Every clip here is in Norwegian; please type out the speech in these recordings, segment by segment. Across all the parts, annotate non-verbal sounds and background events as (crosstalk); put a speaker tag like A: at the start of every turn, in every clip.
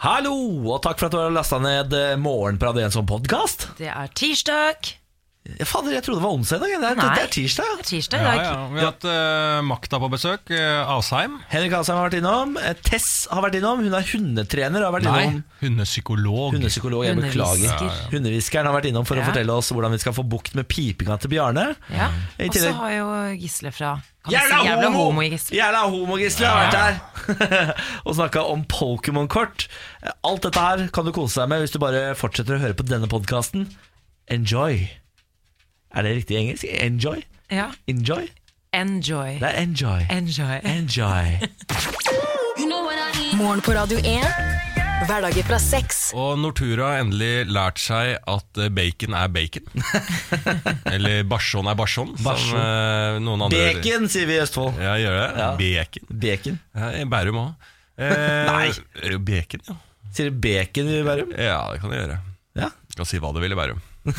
A: Hallo, og takk for at du har lasta ned eh, Morgenparadet som podkast.
B: Det er tirsdag.
A: Ja, fader, jeg trodde det var onsdag. Det er,
B: Nei.
A: det er tirsdag.
B: Det er tirsdag i
C: Ja,
B: dag.
C: ja. Vi har hatt eh, makta på besøk. eh, Asheim.
A: Henrik Asheim har vært innom. eh, Tess har vært innom. Hun er hundetrener. og Har vært innom
C: Hundepsykolog.
A: Hundepsykolog. Jeg beklager.
B: Hundehvisker. Ja, ja.
A: Hundehviskeren har vært innom for
B: Ja.
A: å fortelle oss hvordan vi skal få bukt med pipinga til Bjarne.
B: Ja.
A: I
B: Og så
A: tillegg-
B: har jo Gisle fra kan man
A: Jævla
B: si, jævla
A: homo!
B: homo i Gisle.
A: Jævla homogisle har vært her (laughs) og snakka om Pokémon-kort. Alt dette her kan du kose deg med hvis du bare fortsetter å høre på denne podkasten. Enjoy. Er det riktig engelsk? Enjoy?
B: Ja.
A: Enjoy?
B: Enjoy.
A: Det er enjoy.
B: Enjoy.
A: Enjoy.
D: Morgen på Radio 1. Hverdager fra seks.
C: Og Nortura har endelig lært seg at eh, bacon er
A: (laughs)
C: bacon. Eller barson er barson,
A: Barson.
C: som eh, noen andre
A: Bacon, sier vi i Østfold.
C: Ja, gjør det. Bacon.
A: Bacon.
C: Ja, I Bærum òg. Eh,
A: Nei.
C: eh, Bacon, ja.
A: Sier du bacon i Bærum?
C: Ja, det kan du gjøre.
A: Ja.
C: Skal si hva du vil i Bærum. (laughs)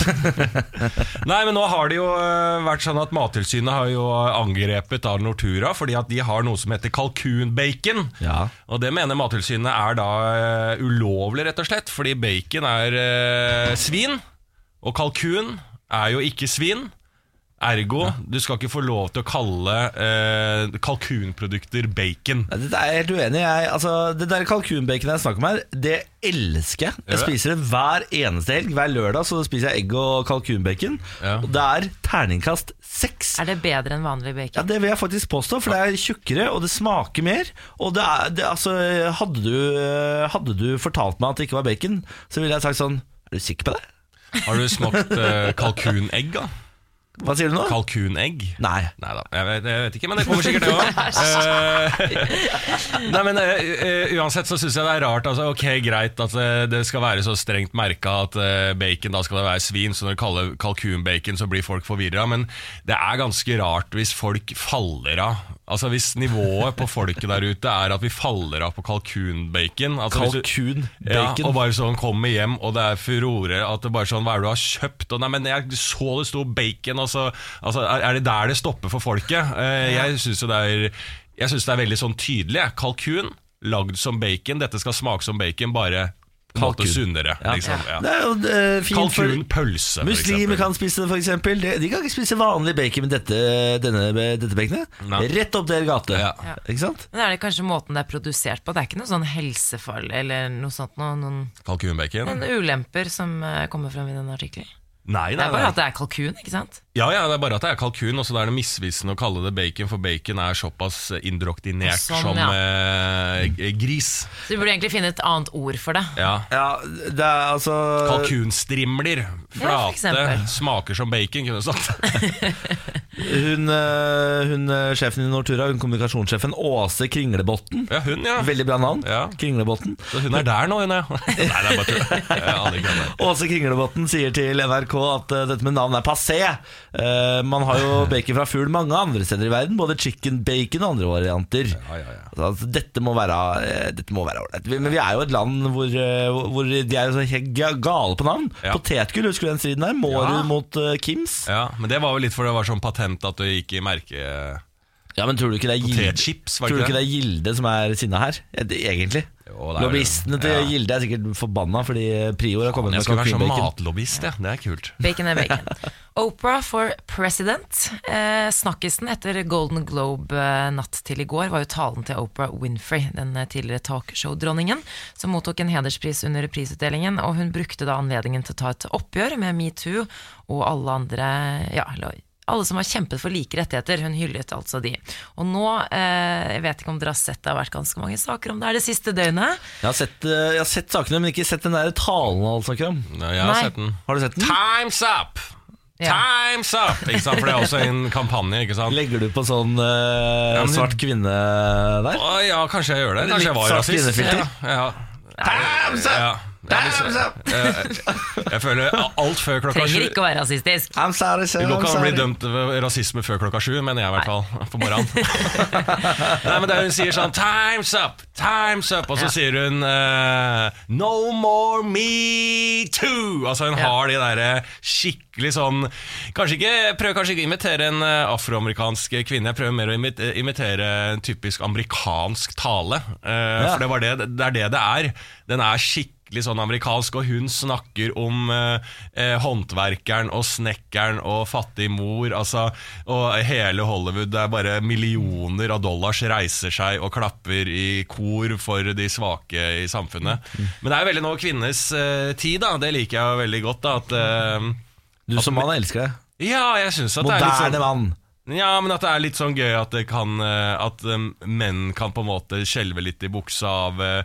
C: Nei, men nå har det jo eh, vært sånn at Mattilsynet har jo eh, angrepet av Nortura fordi at de har noe som heter kalkunbacon.
A: Ja.
C: Og det mener Mattilsynet er da eh, ulovlig, rett og slett, fordi bacon er eh, svin, og kalkun er jo ikke svin. Ergo, du skal ikke få lov til å kalle eh, kalkunprodukter bacon.
A: Nei, Dette er jeg helt uenig i. Jeg- Altså, det der kalkunbaconet jeg snakker om her, det elsker jeg. Jeg
C: det?
A: spiser det hver eneste helg. Hver lørdag så spiser jeg egg og kalkunbacon.
C: Ja.
A: Og det er terningkast seks.
B: Er det bedre enn vanlig
A: Ja,
B: bacon?
A: Det vil jeg faktisk påstå, for det er tjukkere, og det smaker mer. Og det er, det, altså, hadde, du, hadde du fortalt meg at det ikke var bacon, så ville jeg sagt sånn Er du sikker på det?
C: Har du smakt eh, kalkunegg, da?
A: Hva sier du nå?
C: Kalkunegg?
A: Nei.
C: Nei da, jeg vet, jeg vet ikke, men det kommer sikkert det òg. Nei, men eh, eh, uansett så syns jeg det er rart. Altså, ok, greit at eh, det skal være så strengt merka at eh, bacon da skal det være svin, så når du kaller kalkunbacon, så blir folk forvirra. Men det er ganske rart hvis folk faller av. Altså Hvis nivået på folket der ute er at vi faller av på kalkunbacon altså, hvis du-
A: Kalkun,
C: Ja, og
A: bacon.
C: bare sånn kommer hjem, og det er furore. At det bare sånn, Hva er det du har kjøpt? Og nei, men jeg så det sto bacon, og så altså, er, er det der det stopper for folket? Eh, jeg syns jo det er Jeg synes det er veldig sånn tydelig. jeg. Kalkun lagd som bacon. Dette skal smake som bacon, bare på en måte
A: Kalkun.
C: sunnere.
A: Ja.
C: Liksom, ja.
A: Det er jo eh, fint for
C: Kalkunpølse, for
A: Muslimer
C: eksempel.
A: kan spise det, for eksempel. De, de kan ikke spise vanlig bacon med dette, denne, dette baconet.
C: Nei.
A: Rett opp deres gate.
C: Ja.
A: Ikke sant?
B: Men er det kanskje måten det er produsert på? Det er ikke noe sånn helsefarlig eller noe sånt? Noen, noen,
C: Kalkunbacon?
A: Mm.
B: noen ulemper som eh, kommer frem i den artikkelen?
C: Nei,
B: Det
C: nei,
B: er bare
C: nei.
B: at det er kalkun, ikke sant?
C: Ja, ja, det er bare at det er kalkun, og så er det misvisende å kalle det bacon, for bacon er såpass indoktinert
B: Sånn,
C: som
B: ja.
C: eh, gris.
B: Så vi burde egentlig finne et annet ord for det.
C: Ja.
A: Ja, det er altså
C: Kalkunstrimler.
B: for
C: Flate.
B: eksempel.
C: smaker som bacon, kunne
B: (laughs)
C: du sagt.
A: Hun, eh, hun eh, sjefen i Nortura, hun kommunikasjonssjefen Åse Kringlebotn.
C: Ja, hun, ja.
A: Veldig bra navn.
C: Ja.
A: Kringlebotn.
C: Så hun er der nå, hun, ja. (laughs) Nei, det er bare tull. Jeg aner ikke hva det er.
A: Åse Kringlebotn sier til NRK at eh, dette med navn er passé. Eh, man har
C: (laughs)
A: jo bacon fra fugl mange andre steder i verden, både chicken bacon og andre varianter.
C: ja, ja.
A: Altså, altså, dette må være eh, Dette må være ålreit. Vi- Men vi er jo et land hvor, eh, hvor- hvor de er jo så helt ga- gale på navn.
C: Ja.
A: Potetgull, husker du den striden der? Mårud
B: Ja.
A: mot eh, Kims.
C: Ja, men det var vel litt fordi det var sånn patent at du gikk i merke...
A: Ja, men tror du ikke det er Gilde,
C: Potetchips, var
A: tror du
C: det ikke
A: ikke det er Gilde som er sinna her? Ja, det, egentlig.
C: Jo, det er det.
A: Lobbyistene til
C: Ja.
A: Gilde er sikkert forbanna fordi Prior har kommet
C: Jeg
A: med
C: skulle være
A: kalkunbacon.
C: sånn matlobbyist, ja. Det er kult.
B: Bacon er bacon. Oprah for president. Eh, snakkisen etter Golden Globe eh, natt til i går var jo talen til Oprah Winfrey, den eh, tidligere talkshow-dronningen, som mottok en hederspris under prisutdelingen. Og hun brukte da anledningen til å ta et oppgjør med metoo og alle andre ja, eller alle som har kjempet for like rettigheter. Hun hyllet altså de. Og nå, eh, jeg vet ikke om dere har sett det har vært ganske mange saker om det her det siste døgnet.
A: Jeg har, sett, eh, jeg har sett sakene, men ikke sett den der talen alle snakker om.
C: Nei, Jeg har
B: Nei.
C: sett den.
A: Har du sett den?
C: Time's up!
B: Ja.
C: Time's up! Ikke sant? For det er også en kampanje, ikke sant?
A: Legger du på sånn eh,
C: Ja, men-
A: svart kvinne der?
C: Å, ja, kanskje jeg gjør det.
A: Litt
C: Kanskje jeg var
A: svart
C: rasist.
A: kvinnefilter.
C: Ja, ja. Time's up! Ja. Jeg, jeg, jeg føler alt før klokka sju
B: Trenger ikke å være rasistisk.
A: I'm sorry, sir.
C: Det går
A: I'm
C: ikke an å bli
A: sorry.
C: dømt ved rasisme før klokka sju, mener jeg i hvert fall. På morgenen. Nei, men det Hun sier sånn 'Time's up! Time's up!' Og så
B: Ja.
C: sier hun eh, 'No more me too!' Altså Hun
B: Ja.
C: har de derre skikkelig sånn Kanskje ikke Prøver kanskje ikke å imitere en eh, afroamerikansk kvinne. Jeg prøver mer å imit- eh, imitere en typisk amerikansk tale. Eh,
A: Ja.
C: For det, var det, det er det det er. Den er skikkelig sånn amerikansk, og hun snakker om eh, eh, håndverkeren og snekkeren og fattig mor. Altså, og hele Hollywood, det er bare millioner av dollars reiser seg og klapper i kor for de svake i samfunnet. Men det er veldig nå kvinnenes eh, tid, da. Det liker jeg jo veldig godt. da at... eh,
A: Du som mann elsker det.
C: ja, jeg synes at det er litt sånn
A: Moderne mann.
C: ja, men at det er litt sånn gøy at, det kan, eh, at eh, menn kan på en måte skjelve litt i buksa av eh,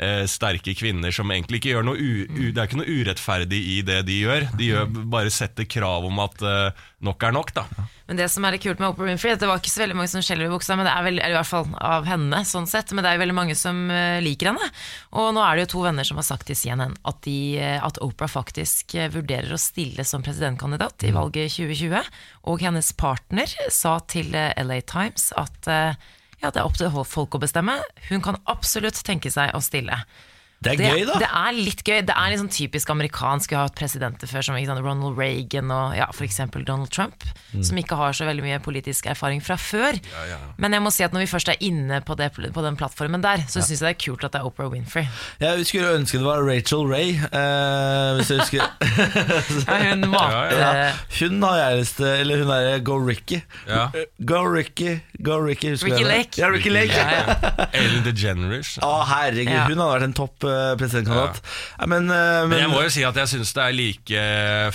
C: eh, sterke kvinner som egentlig ikke gjør noe u, u, Det er ikke noe urettferdig i det de gjør. De gjør, bare setter krav om at eh, nok er nok, da.
B: Men det som er litt kult med Oprah Winfrey, at det var ikke så veldig mange som skjelver i buksa, men det er vel, eller i hvert fall av henne, sånn sett, men det er jo veldig mange som eh, liker henne. Og nå er det jo to venner som har sagt til CNN at, de, eh, at Oprah faktisk eh, vurderer å stille som presidentkandidat i valget 2020, og hennes partner sa til eh, LA Times at eh, ja, det er opp til folk å bestemme. Hun kan absolutt tenke seg å stille.
A: Det er
B: Det,
A: gøy, da.
B: det er litt gøy. Det er litt sånn typisk amerikansk. Vi har hatt presidenter før som ikke sant, Ronald Reagan og ja, f.eks. Donald Trump,
C: Mm.
B: som ikke har så veldig mye politisk erfaring fra før. Men jeg må si at når vi først er inne på, det, på den plattformen der, så synes syns jeg det er kult at det er Oprah Winfrey.
A: Jeg skulle ønske det var Rachel Ray. eh, hvis jeg husker
B: (laughs) hun
C: mat-
B: mater
A: ja. Hun har jeg lyst til Eller hun er Go Ricky.
C: Ja.
A: Go Ricky, Go Ricky husker du
B: Ricky
A: henne?
B: Lake.
A: Ja, Ricky Lake.
C: Ellen DeGeneres.
A: Å, herregud,
B: Ja.
A: hun hadde vært en topp eh, presidentkandidat. Ja, Men, eh, men,
C: Men jeg må jo si at jeg syns det er like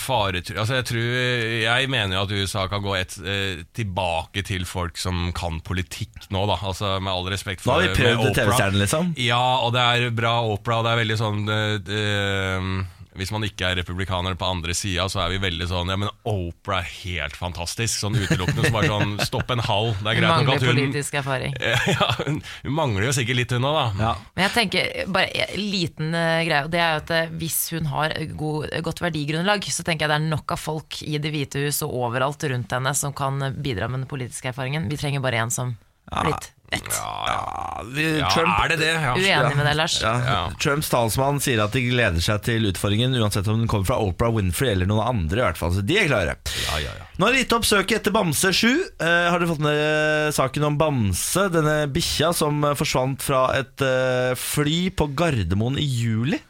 C: faretru... Altså jeg, tror, jeg mener jo at USA kan gå et, eh, tilbake til folk som kan politikk nå, da. Altså Med all respekt for
A: Nå har vi prøvd
C: med Oprah.
A: TV-stjernen, liksom.
C: Ja, og det er bra Oprah. og Det er veldig sånn eh, eh, hvis man ikke er republikaner på andre sida, så er vi veldig sånn Ja, men Oprah er helt fantastisk. Sånn utelukkende som bare sånn Stopp en hal. Det
B: Hun
C: er greit nok
B: mangler
C: at hun
B: politisk erfaring.
C: (laughs) ja, Hun hun mangler jo sikkert litt, hun òg, da.
A: Ja.
B: Men jeg tenker bare en liten eh, greie, og det er jo at eh, hvis hun har god, godt verdigrunnlag, så tenker jeg det er nok av folk i Det hvite hus og overalt rundt henne som kan bidra med den politiske erfaringen. Vi trenger bare en som har litt vett.
A: Ja, vi,
C: Ja,
A: Trump,
C: er det det? Ja.
B: Uenig med deg, Lars.
A: ja,
C: Ja.
A: Trumps talsmann sier at de gleder seg til utfordringen, uansett om den kommer fra Oprah Winfrey eller noen andre. i hvert fall, så de er klare.
C: Ja, ja, ja.
A: Nå har dere gitt opp søket etter Bamse 7. Eh, har dere fått med dere saken om Bamse, denne bikkja som eh, forsvant fra et eh, fly på Gardermoen i juli?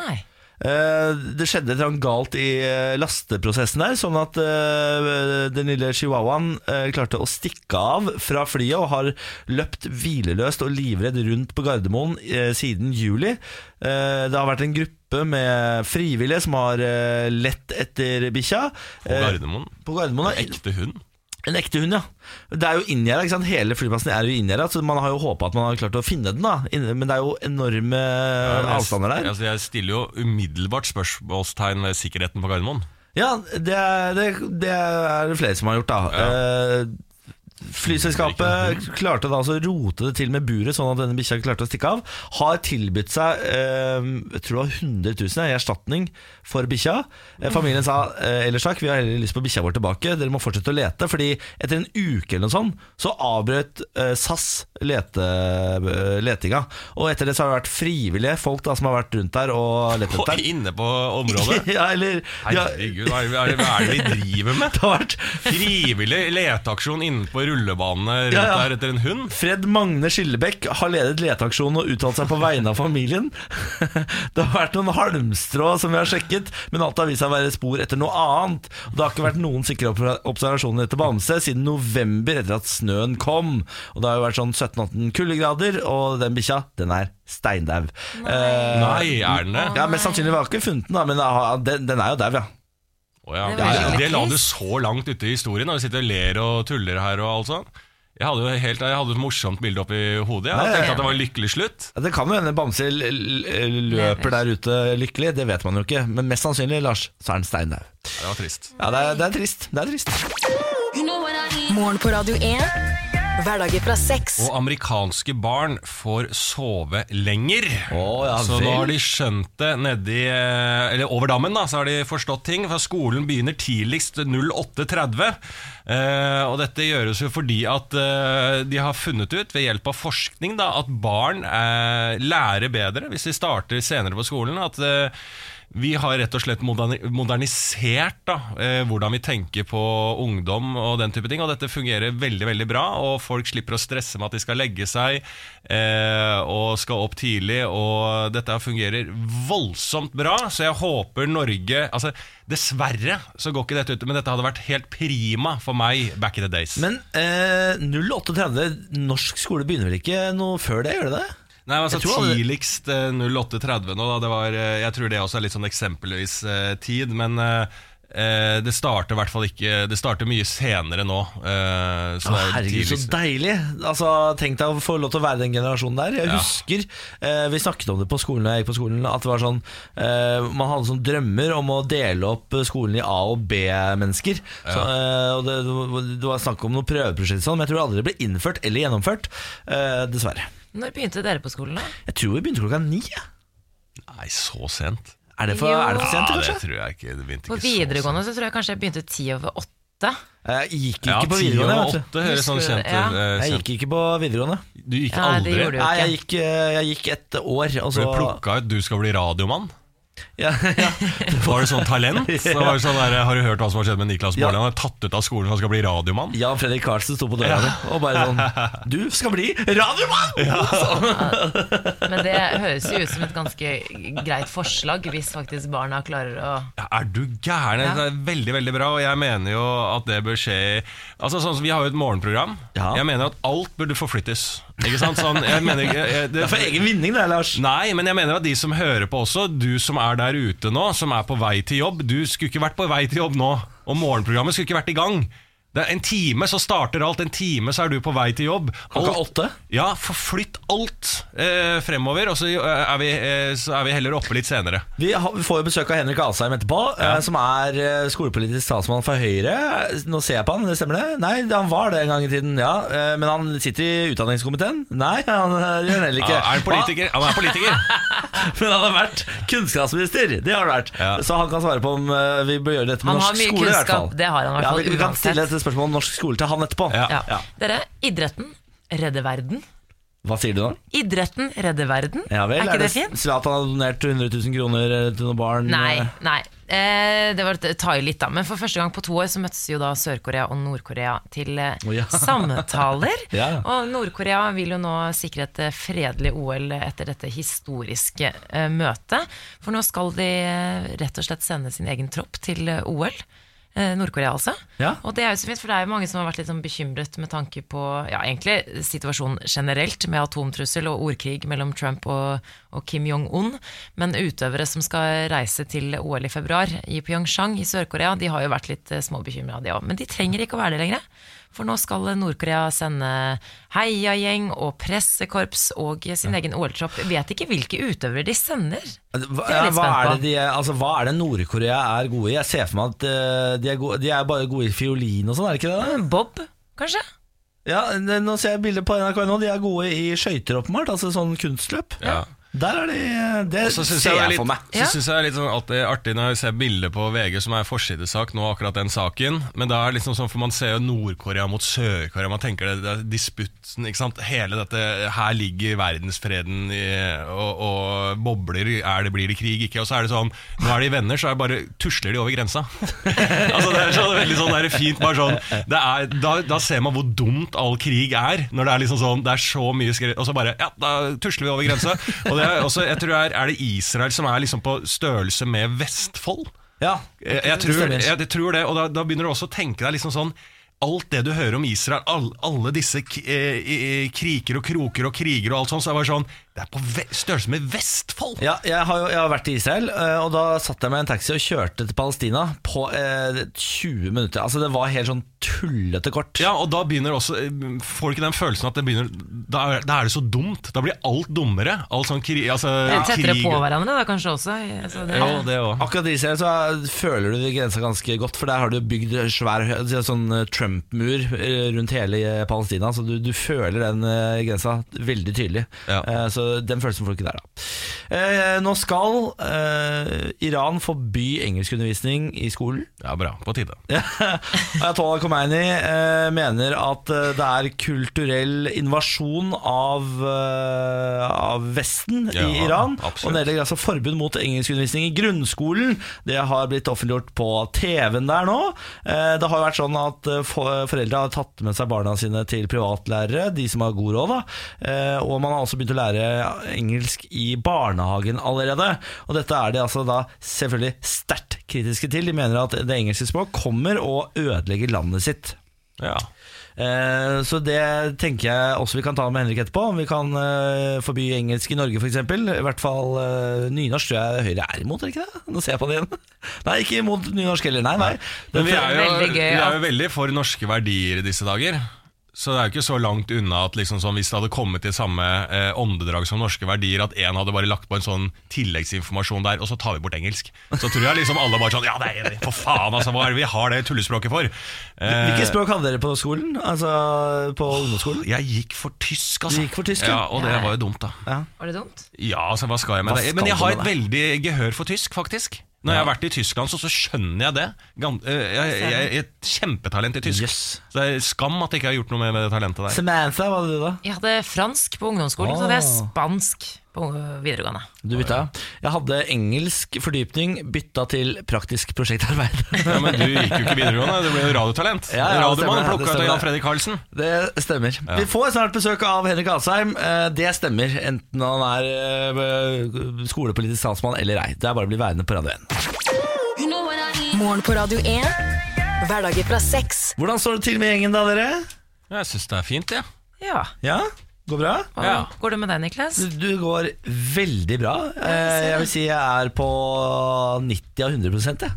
B: Nei.
A: Eh, Det skjedde et eller annet galt i eh, lasteprosessen der, sånn at eh, den lille chihuahuaen eh, klarte å stikke av fra flyet og har løpt hvileløst og livredd rundt på Gardermoen eh, siden juli. Eh, Det har vært en gruppe med frivillige som har eh, lett etter bikkja.
C: På
A: Eh,
C: Gardermoen.
A: På Gardermoen, ja.
C: Ekte hund.
A: En ekte hund, ja. Det er jo inngjerda. ikke sant? Hele flyplassen er jo inngjerda, så altså man har jo håpa at man har klart å finne den, da. Inne- Men det er jo enorme
C: Men jeg-
A: Eh, avstander der.
C: Altså, jeg stiller jo umiddelbart spørsmålstegn ved sikkerheten på Gardermoen.
A: Ja, det er det, det er det flere som har gjort, da. Eh, Flyselskapet klarte da altså å rote det til med buret, sånn at denne bikkja klarte å stikke av. Har tilbudt seg eh, jeg tror det var 100 000 i erstatning for bikkja. Eh, Familien sa eh, ellers takk, vi har heller lyst på bikkja vår tilbake, dere må fortsette å lete. Fordi etter en uke eller noe sånt, så avbrøt eh, SAS lete, eh, letinga. Og etter det så har det vært frivillige folk da som har vært rundt der og lett
C: På,
A: etter.
C: (laughs) inne på området.
A: (laughs) ja, eller, de har-
C: Herregud, hva er, det- hva er det vi driver med?
A: det har vært
C: Frivillig leteaksjon inne på rullebanene rundt
A: Ja, ja.
C: der etter en hund?
A: Fred Magne Skillebekk har ledet leteaksjonen og uttalt seg på vegne av familien. (laughs) Det har vært noen halmstrå som vi har sjekket, men alt har vist seg å være spor etter noe annet. Og Det har ikke vært noen sikre opp- observasjoner etter Bamse siden november etter at snøen kom. Og Det har jo vært sånn 17-18 kuldegrader, og den bikkja, den er steindau. Eh,
C: Nei, er den det?
A: ja, Mest sannsynlig var ikke funnet den, da, men ah, den, den er jo dau, ja.
C: Å ja.
B: Det var
C: Det-
B: veldig
C: Det la du
B: trist.
C: så langt ute i historien, når du sitter og ler og tuller her og alt sånn. Jeg hadde jo helt, jeg hadde et morsomt bilde oppi hodet. Jeg
A: Nei,
C: tenkte
A: ja.
C: at det var en lykkelig slutt.
A: Ja, Det kan jo hende Bamse l- l-
B: Lever.
A: løper der ute lykkelig, det vet man jo ikke. Men mest sannsynlig, Lars, så er den steindau.
C: Det var trist.
A: Ja, det er, det er trist. Det er trist.
D: Morgen på Radio 1. Hverdager fra seks.
C: Og amerikanske barn får sove lenger.
A: Å, ja
C: så
A: vel.
C: nå har de skjønt det nedi eh, Eller over dammen, da, så har de forstått ting. For skolen begynner tidligst 08.30. Eh, og dette gjøres jo fordi at eh, de har funnet ut ved hjelp av forskning da, at barn eh, lærer bedre hvis de starter senere på skolen. At eh, vi har rett og slett moderni- modernisert da, eh, hvordan vi tenker på ungdom og den type ting. Og dette fungerer veldig veldig bra, og folk slipper å stresse med at de skal legge seg eh, og skal opp tidlig. Og dette her fungerer voldsomt bra, så jeg håper Norge altså, Dessverre så går ikke dette ut, men dette hadde vært helt prima for meg back in the days.
A: Men eh, 08.30, norsk skole begynner vel ikke noe før det, gjør det det?
C: Nei, men altså
A: Jeg tror aldri-
C: Tidligst eh, 08.30 nå, da. Det var, eh, jeg tror det også er litt sånn eksempelvis eh, tid. Men eh, eh, det starter i hvert fall ikke Det starter mye senere nå. eh,
A: Å,
C: så det er jo
A: herregud, så
C: tidligst-
A: deilig! Altså, Tenk deg å få lov til å være den generasjonen der. Jeg
C: Ja.
A: husker eh, vi snakket om det på skolen da jeg gikk på skolen, at det var sånn eh, Man hadde sånn drømmer om å dele opp eh, skolen i A- og B-mennesker. Så, eh, og det, det var snakk om noen prøveprosjekt, og sånn, men jeg tror aldri det ble innført eller gjennomført. Eh, dessverre.
B: Når begynte dere på skolen, da?
A: Jeg tror vi begynte klokka ni. ja.
C: Nei, så sent?
A: Er det for,
B: Jo.
A: er det for sent,
C: Ja, det
A: kanskje?
C: tror jeg ikke. Det begynte
B: På
C: ikke så
B: videregående så tror jeg kanskje jeg begynte ti over åtte.
A: Eh, Jeg gikk
C: sent.
A: ikke
C: Ja,
A: på
C: ti
A: videregående.
C: og
A: vet du.
C: åtte høres sånn
B: Husker du
C: kjent
B: det?
C: ut.
B: Ja.
C: eh,
A: Jeg
C: kjent.
A: gikk ikke på videregående.
C: Du gikk
B: Nei, det
C: aldri?
B: gjorde du
A: Nei, jeg
B: ikke.
A: gikk, eh, jeg gikk et år, og
C: Ble
A: så
C: plukka ut 'du skal bli radiomann'?
A: ja, (laughs) ja.
C: Var det sånn talent?
A: (laughs)
C: Så var det sånn der, har du hørt hva som har skjedd med Niklas
A: Ja.
C: Baarli? Han er tatt ut av skolen for han skal bli radiomann?
A: Jan Fredrik Karlsen sto på døra di og bare
C: (laughs)
A: sånn Du skal bli radiomann!
B: Men det høres jo ut som et ganske greit forslag, hvis faktisk barna klarer å
C: Ja, Er du gæren?
B: Ja.
C: Det er veldig, veldig bra, og jeg mener jo at det bør skje i- Altså sånn som Vi har jo et morgenprogram.
A: Ja.
C: Jeg mener at alt burde forflyttes. Ikke sant? Sånn, jeg mener ikke jeg,
A: Det er for egen vinning, det, Lars.
C: Nei, men jeg mener at de som hører på også, du som er der ute nå, som er på vei til jobb Du skulle ikke vært på vei til jobb nå, og morgenprogrammet skulle ikke vært i gang. Det er en time så starter alt, en time så er du på vei til jobb.
A: Klokka
C: Alt-
A: åtte?
C: Ja, forflytt alt eh, fremover, og så eh, er, vi, eh, så er vi heller oppe litt senere.
A: Vi, har, vi får jo besøk av Henrik Asheim etterpå, eh, som er eh, skolepolitisk statsmann for Høyre. Nå ser jeg på han, det stemmer det? Nei, han var det en gang i tiden, ja. Eh, men han sitter i utdanningskomiteen? Nei, han eh, gjør det heller ikke.
C: Ja, er han politiker? Han er politiker.
A: (laughs) Ah, men han har vært kunnskapsminister, det har han vært.
C: Ja.
A: Så han kan svare på om eh, vi bør gjøre dette med
B: Han har
A: norsk
B: mye
A: skole, i hvert fall.
B: kunnskap, det har han i hvert
A: Ja,
B: fall,
A: vi, vi kan
B: uansett.
A: stille et spørsmål om norsk skole til han etterpå.
C: Ja.
B: ja. Dere, idretten redder verden.
A: Hva sier du nå?
B: Idretten redder verden.
A: Ja vel,
B: er ikke det fint?
A: Zlatan har donert 100 000 kroner eh, til noen barn?
B: Nei,
A: eh,
B: nei. Eh, det var et ta i litt, da. Men for første gang på to år så møttes jo da Sør-Korea og Nord-Korea til eh,
A: Å, ja. (laughs)
B: samtaler.
A: Ja.
B: Og Nord-Korea vil jo nå sikre et eh, fredelig OL etter dette historiske eh, møtet. For nå skal de eh, rett og slett sende sin egen tropp til eh, OL. Eh, Nord-Korea, altså.
A: Ja.
B: Og det er jo så fint, for det er jo mange som har vært litt sånn bekymret med tanke på ja, egentlig situasjonen generelt, med atomtrussel og ordkrig mellom Trump og, og Kim Jong-un. Men utøvere som skal reise til OL i februar i Pyeongchang i Sør-Korea, de har jo vært litt eh, småbekymra, de òg. Men de trenger ikke å være det lenger. For nå skal Nord-Korea sende heiagjeng og pressekorps og sin egen OL-tropp. Vet ikke hvilke utøvere de sender.
A: Hva,
B: Det er jeg
A: ja,
B: litt
A: hva, er
B: spent
A: det
B: på.
A: de, er- altså, hva er det Nord-Korea er gode i? Jeg ser for meg at eh, de, er gode, de er bare gode i fiolin og sånn, er det ikke det?
B: Bob, kanskje?
A: Ja, det- Nå ser jeg bilder på NRK nå, de er gode i skøyter åpenbart, altså sånn kunstløp.
C: Ja.
A: Der er de eh, Det
C: Og så
A: ser
C: syns
A: jeg,
C: jeg, det er
A: for
C: litt-
A: meg.
B: Ja.
C: så synes jeg det er litt sånn alltid artig når jeg ser bilder på VG som er forsidesak nå, akkurat den saken. Men da er det liksom sånn, for man ser jo Nord-Korea mot Sør-Korea, man tenker det, det er disputten, ikke sant. Hele dette Her ligger verdensfreden i, og, og bobler. Er det, blir det krig, ikke? Og så er det sånn Nå er de venner, så er det bare tusler de over grensa. altså Det er så veldig sånn det er fint. bare sånn det er, da, da ser man hvor dumt all krig er, når det er liksom sånn Det er så mye skre... Og så bare Ja, da tusler vi over grensa. Og det er også, jeg tror det er, er det Israel som er liksom på størrelse med Vestfold?
A: Ja,
C: Jeg, jeg, tror, jeg, jeg tror det, og da, da begynner du også å tenke deg liksom sånn Alt det du hører om Israel, all, alle disse k eh, eh, kriker og kroker og kriger og alt sånt, så er det bare sånn Det er på ve størrelse med Vestfold!
A: Ja, jeg har, jo, jeg har vært i Israel, eh, og da satt jeg med en taxi og kjørte til Palestina på eh, 20 minutter. Altså Det var helt sånn tullete kort.
C: Ja, og da begynner også Får du ikke den følelsen at det begynner Da er, da er det så dumt. Da blir alt dummere. Alt sånn kri, altså,
B: Eller tettere
C: krig-
B: på hverandre, da kanskje også. Altså, det,
C: Jo, det også.
A: Akkurat i Israel så er- føler du grensa ganske godt, for der har du bygd svær hø- sånn eh, Trump-mur eh, rundt hele eh, Palestina, så du, du føler den eh, grensa veldig tydelig.
C: Ja.
A: Eh, Så den følelsen får du ikke der, da. Eh, Nå skal eh, Iran forby engelskundervisning i skolen. (laughs)
C: Ja, bra. På tide.
A: Ayatollah Khomeini eh, mener at eh, det er kulturell invasjon av, eh, av Vesten
C: Ja,
A: i Iran.
C: absolutt.
A: Og det gjelder altså forbud mot engelskundervisning i grunnskolen. Det har blitt offentliggjort på TV-en der nå. Eh, det har vært sånn at eh, for, foreldre har tatt med seg barna sine til privatlærere, de som har god råd. da. Eh, og man har også begynt å lære engelsk i barnehagen allerede. Og dette er de altså da selvfølgelig sterkt kritiske til. De mener at det engelske språk kommer og ødelegger landet sitt.
C: Ja.
A: Eh, Så det tenker jeg også vi kan ta med Henrik etterpå. Om vi kan eh, forby engelsk i Norge, f.eks. I hvert fall eh, nynorsk tror jeg Høyre er imot, er det ikke det? Nå ser jeg på det igjen. (laughs) Nei, ikke imot nynorsk heller, nei. nei.
C: Men vi er, jo,
B: Veldig gøy
C: vi er jo
B: at-
C: veldig for norske verdier i disse dager. Så det er jo ikke så langt unna at liksom sånn, hvis det hadde kommet til samme eh, åndedrag som norske verdier, at én hadde bare lagt på en sånn tilleggsinformasjon der, og så tar vi bort engelsk. Så tror jeg liksom alle bare sånn Ja, det er enig. For faen, altså. Hva er det vi har det tullespråket for? Eh,
A: Hvilke språk hadde dere på skolen? Altså på ungdomsskolen?
C: jeg gikk for tysk, altså.
A: Du gikk for tysk, ja.
C: ja, Og det var jo dumt, da.
B: var det dumt?
C: Ja, altså, hva skal jeg med
A: Hva
C: det?
A: skal
C: Men jeg
A: du
C: har
A: med
C: et veldig gehør for tysk, faktisk. Når jeg har vært i Tyskland, så, så skjønner jeg det. Gan- eh, Jeg, jeg, jeg er et kjempetalent i tysk.
A: Yes.
C: Så det er skam at jeg ikke har gjort noe med, med det talentet der.
A: Samantha, hva hadde du da?
B: Jeg hadde fransk på ungdomsskolen, så
A: Ah.
B: hadde jeg spansk på øh, videregående.
A: Du bytta? Jeg hadde engelsk fordypning bytta til praktisk prosjektarbeid. (laughs)
C: Ja, men du gikk jo ikke videregående, du ble jo radiotalent.
A: Ja, ja, det
C: Radiomann
A: stemmer, det
C: plukka ut av
A: stemmer.
C: Jan Fredrik Karlsen.
A: Det stemmer. Vi får snart besøk av Henrik Asheim. Eh, Det stemmer, enten han er eh, skolepolitisk talsmann eller ei. Det er bare å bli værende på Radio 1.
D: Morgen på Radio 1. Hverdager fra seks.
A: Hvordan står det til med gjengen da, dere?
C: Ja, jeg syns det er fint, jeg.
B: Ja.
A: Ja, går bra?
B: Hva
C: Ja.
B: går det med deg, Niklas?
A: Du du går veldig bra. Eh, Jeg vil si jeg er på 90 av 100 jeg.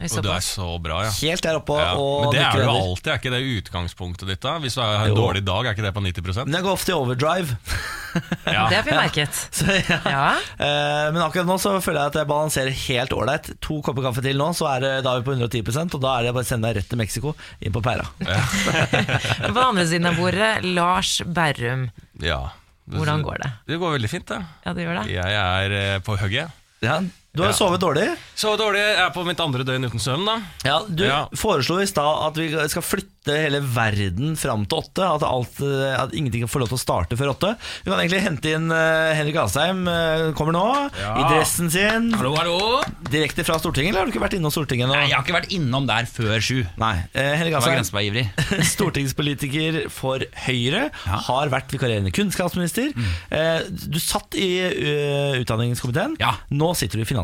B: Vi så
C: Og du
B: på.
C: er så bra, ja.
A: Helt der oppe
C: ja.
A: og
C: Men det
A: nikker
C: er du
A: under.
C: alltid, er ikke det utgangspunktet ditt da? Hvis du har
A: Jo.
C: en dårlig dag, er ikke det på 90
A: Men jeg går ofte i overdrive. (laughs)
C: ja.
B: (laughs) Det har vi
C: (laughs)
B: merket.
A: Så, ja.
B: Ja.
A: Eh, Men akkurat nå så føler jeg at jeg balanserer helt ålreit. To kopper kaffe til nå, så er, det- da er vi på 110 og da er det bare å sende meg rett til Mexico, inn på pæra.
B: På den andre siden av bordet, Lars Berrum.
C: ja.
B: Hvordan går det?
C: Det går veldig fint, det.
B: Ja, det gjør det.
C: Jeg er eh, på hugget.
A: Ja, du har jo
C: Ja.
A: sovet dårlig.
C: Så dårlig. Jeg er på mitt andre døgn uten søvn, da.
A: Ja, du
C: Ja.
A: foreslo i stad at vi skal flytte hele verden fram til åtte. At, alt, eh, at ingenting får lov til å starte før åtte. Vi kan egentlig hente inn eh, Henrik Asheim. eh, Kommer nå, i dressen sin.
E: Hallo, hallo.
A: Direkte fra Stortinget, eller har du ikke vært innom Stortinget nå?
E: Nei, jeg har ikke vært innom der før sju. Jeg
A: Nei, eh, Henrik
E: var
A: Asheim,
E: grenseveivrig.
A: (laughs) stortingspolitiker for Høyre, har vært vikarierende kunnskapsminister.
E: Mm.
A: Eh, Du satt i eh, utdanningskomiteen,
E: Ja.
A: nå sitter du i finanskomiteen.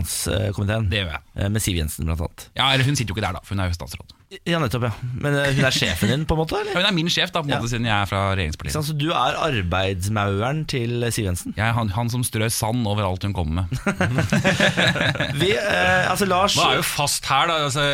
E: Det gjør jeg.
A: Eh, Med Siv Jensen, blant annet.
E: Ja, eller Hun sitter jo ikke der, da, for hun er jo statsråd.
A: Ja, nettopp, ja. Men eh, hun er sjefen din, på en måte? eller?
E: Ja, hun er min sjef, da, på en måte, siden jeg er fra
A: Ikke
E: regjeringspartiet.
A: sant? Så du er arbeidsmauren til Siv Jensen.
E: Jeg er han, han som strør sand over alt hun kommer med.
A: Vi, eh, altså Lars
C: Nå er jo fast her, da. Altså,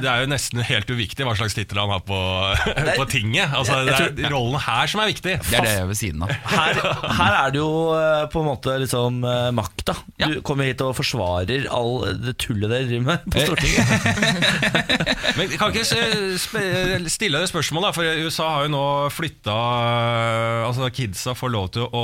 C: Det er jo nesten helt uviktig hva slags tittel han har på, (laughs) på tinget. Altså, det er rollen her som er viktig.
E: Det er det jeg er ved siden av.
A: her, her er du jo eh, på en måte liksom eh, makta. Du
E: Ja.
A: kommer hit og forsvarer all det tullet dere driver med
C: Eh.
A: på Stortinget.
C: Men kan ikke eh, sp- stille deg spørsmål, da, for USA har jo nå flytta eh, Altså Kidsa får lov til å